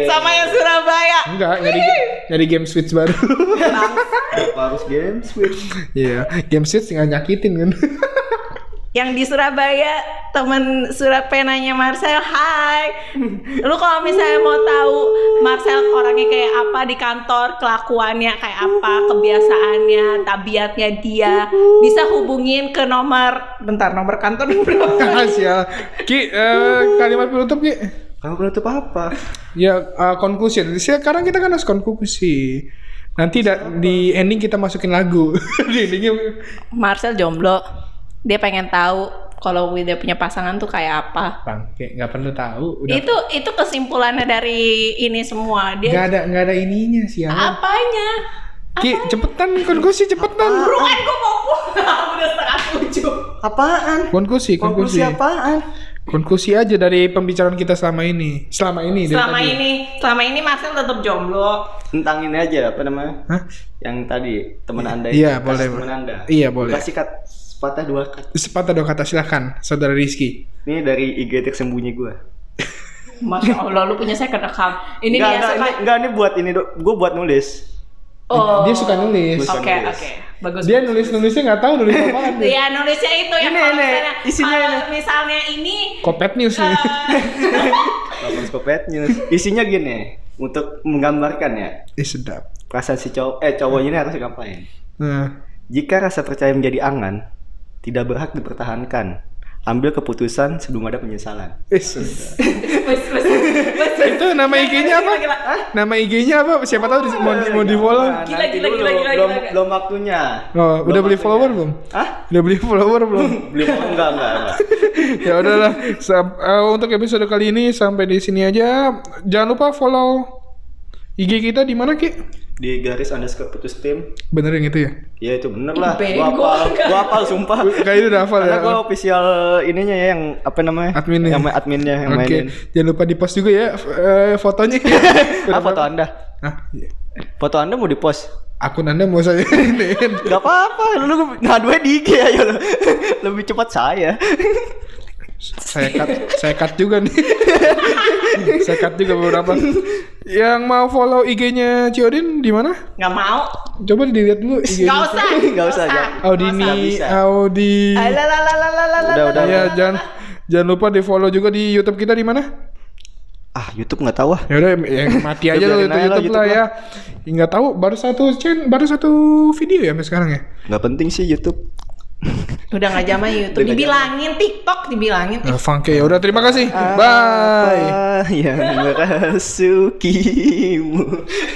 Speaker 3: sama yang Surabaya.
Speaker 2: Enggak, nyari nyari game Switch baru.
Speaker 1: Kenapa harus game switch?
Speaker 2: Iya, game Switch nggak nyakitin kan.
Speaker 3: Yang di Surabaya, temen Surapenanya Marcel, hai. Lu kalau misalnya mau tahu Marcel orangnya kayak apa di kantor, kelakuannya kayak apa, kebiasaannya, tabiatnya dia, bisa hubungin ke nomor, bentar nomor kantor berapa?
Speaker 2: Sial. Ki, eh, kalimat penutup Ki.
Speaker 1: Kamu penutup apa?
Speaker 2: Ya, eh, conclusion. Sekarang kita kan harus konklusi. Nanti da- di ending kita masukin lagu. di endingnya
Speaker 3: Marcel jomblo, dia pengen tahu kalau dia punya pasangan tuh kayak apa.
Speaker 2: bangke, nggak perlu tahu. Udah.
Speaker 3: Itu itu kesimpulannya dari ini semua.
Speaker 2: Nggak
Speaker 3: Dia
Speaker 2: ada nggak ada ininya sial.
Speaker 3: apanya?
Speaker 2: Ki, cepetan konklusi
Speaker 3: Kan
Speaker 1: Ah,
Speaker 2: cepetan.
Speaker 3: Buruan gue mau pulang udah setengah tujuh.
Speaker 1: Apaan?
Speaker 2: Konklusi, konklusi.
Speaker 1: Konklusi apaan?
Speaker 2: Konklusi aja dari pembicaraan kita selama ini. Selama ini dari
Speaker 3: Selama
Speaker 2: tadi.
Speaker 3: ini, selama ini Marcel tetap jomblo.
Speaker 1: Tentang ini aja apa namanya?
Speaker 2: Hah?
Speaker 1: Yang tadi teman Anda
Speaker 2: Iya,
Speaker 1: itu,
Speaker 2: boleh,
Speaker 1: kasus Teman
Speaker 2: boleh.
Speaker 1: Anda.
Speaker 2: Iya, boleh.
Speaker 1: Kasih kat sepatah dua kat.
Speaker 2: Sepatah dua kata silahkan, saudara Rizky.
Speaker 1: Ini dari IG tersembunyi gua.
Speaker 3: Masya Allah, lu punya second account. Ini
Speaker 1: Nggak,
Speaker 3: dia
Speaker 1: nggak,
Speaker 3: suka.
Speaker 1: ini, nggak, ini buat ini dok. Gua buat nulis.
Speaker 3: Oh.
Speaker 2: Eh, Dia suka nulis.
Speaker 1: Nulis.
Speaker 3: Oke
Speaker 1: Suka nulis.
Speaker 3: oke, bagus.
Speaker 2: Dia nulis nulisnya nggak tahu nulis apa kan.
Speaker 3: Iya nulisnya itu yang
Speaker 1: Ini,
Speaker 3: kalau
Speaker 1: ini,
Speaker 3: misalnya,
Speaker 1: isinya
Speaker 3: kalau
Speaker 1: ini.
Speaker 3: misalnya ini. eh,
Speaker 2: Kopet news nih.
Speaker 1: Lapan Scopet News. Isinya gini, untuk menggambarkan ya
Speaker 2: Ih Eh, sedap.
Speaker 1: perasaan si cowok eh cowok ini harus ngapain?
Speaker 2: Nah,
Speaker 1: Jika rasa percaya menjadi angan, tidak berhak dipertahankan. Ambil keputusan sebelum ada penyesalan.
Speaker 2: eh sedap.
Speaker 3: Wes, wes, wes, wes.
Speaker 2: Itu nama IG-nya apa?
Speaker 3: Gila, gila, gila.
Speaker 2: Nama IG-nya apa? Siapa tahu di- mau mau di follow.
Speaker 1: Nah,
Speaker 3: Gila,
Speaker 1: nanti
Speaker 3: gila,
Speaker 1: dulu.
Speaker 3: gila, gila,
Speaker 1: belum,
Speaker 3: gila.
Speaker 1: belum waktunya.
Speaker 2: Oh, udah
Speaker 1: Belum
Speaker 2: beli
Speaker 1: waktunya.
Speaker 2: follower belum?
Speaker 1: Hah?
Speaker 2: Udah beli follower belum?
Speaker 1: Belum enggak enggak. enggak.
Speaker 2: ya udahlah. Sam- eh, untuk episode kali ini sampai di sini aja. Jangan lupa follow IG kita di mana Ki?
Speaker 1: Di garis underscore putus tim.
Speaker 2: Bener yang itu ya?
Speaker 1: Ya itu bener lah.
Speaker 3: Bego.
Speaker 1: Gua apal, gua apal sumpah.
Speaker 2: Kayak itu udah hafal ya.
Speaker 1: Karena gua official ininya ya yang apa namanya? Yang
Speaker 2: Adminnya.
Speaker 1: ma- adminnya yang
Speaker 2: Oke,
Speaker 1: mainin.
Speaker 2: jangan lupa di post juga ya f- eh, fotonya.
Speaker 1: Ah, foto Anda.
Speaker 2: Nah,
Speaker 1: Foto Anda mau di-post.
Speaker 2: akun Anda mau saya ini.
Speaker 1: Gak apa-apa, lu ngadunya di IG aja lu. Lebih cepat saya.
Speaker 2: saya cut, saya cut juga nih. saya cut juga beberapa. Yang mau follow IG-nya Ciodin di mana?
Speaker 3: Nggak mau.
Speaker 2: Coba dilihat dulu IG.
Speaker 3: Nggak usah.
Speaker 1: Nggak usah, jangan. Nggak
Speaker 2: Audini,
Speaker 1: bisa.
Speaker 2: Audi.
Speaker 1: Udah, udah.
Speaker 2: Ya, jangan jangan lupa di follow juga di YouTube kita di mana?
Speaker 1: Ah, YouTube nggak tahu ah.
Speaker 2: Ya udah, ya mati
Speaker 1: Ya,
Speaker 2: aja
Speaker 1: biarin aja lah,
Speaker 2: loh itu YouTube,
Speaker 1: YouTube
Speaker 2: lah
Speaker 1: lah.
Speaker 2: ya. Ya, Nggak tahu, baru satu chain, baru satu video ya sampai sekarang ya.
Speaker 1: Nggak penting sih YouTube.
Speaker 3: Udah nggak zaman YouTube.
Speaker 1: Udah nggak
Speaker 3: Dibilangin TikTok, dibilangin.
Speaker 2: Nah, funky ya udah terima
Speaker 1: Ah,
Speaker 2: kasih. Bye.
Speaker 1: Ya, Apa Yang merasukimu.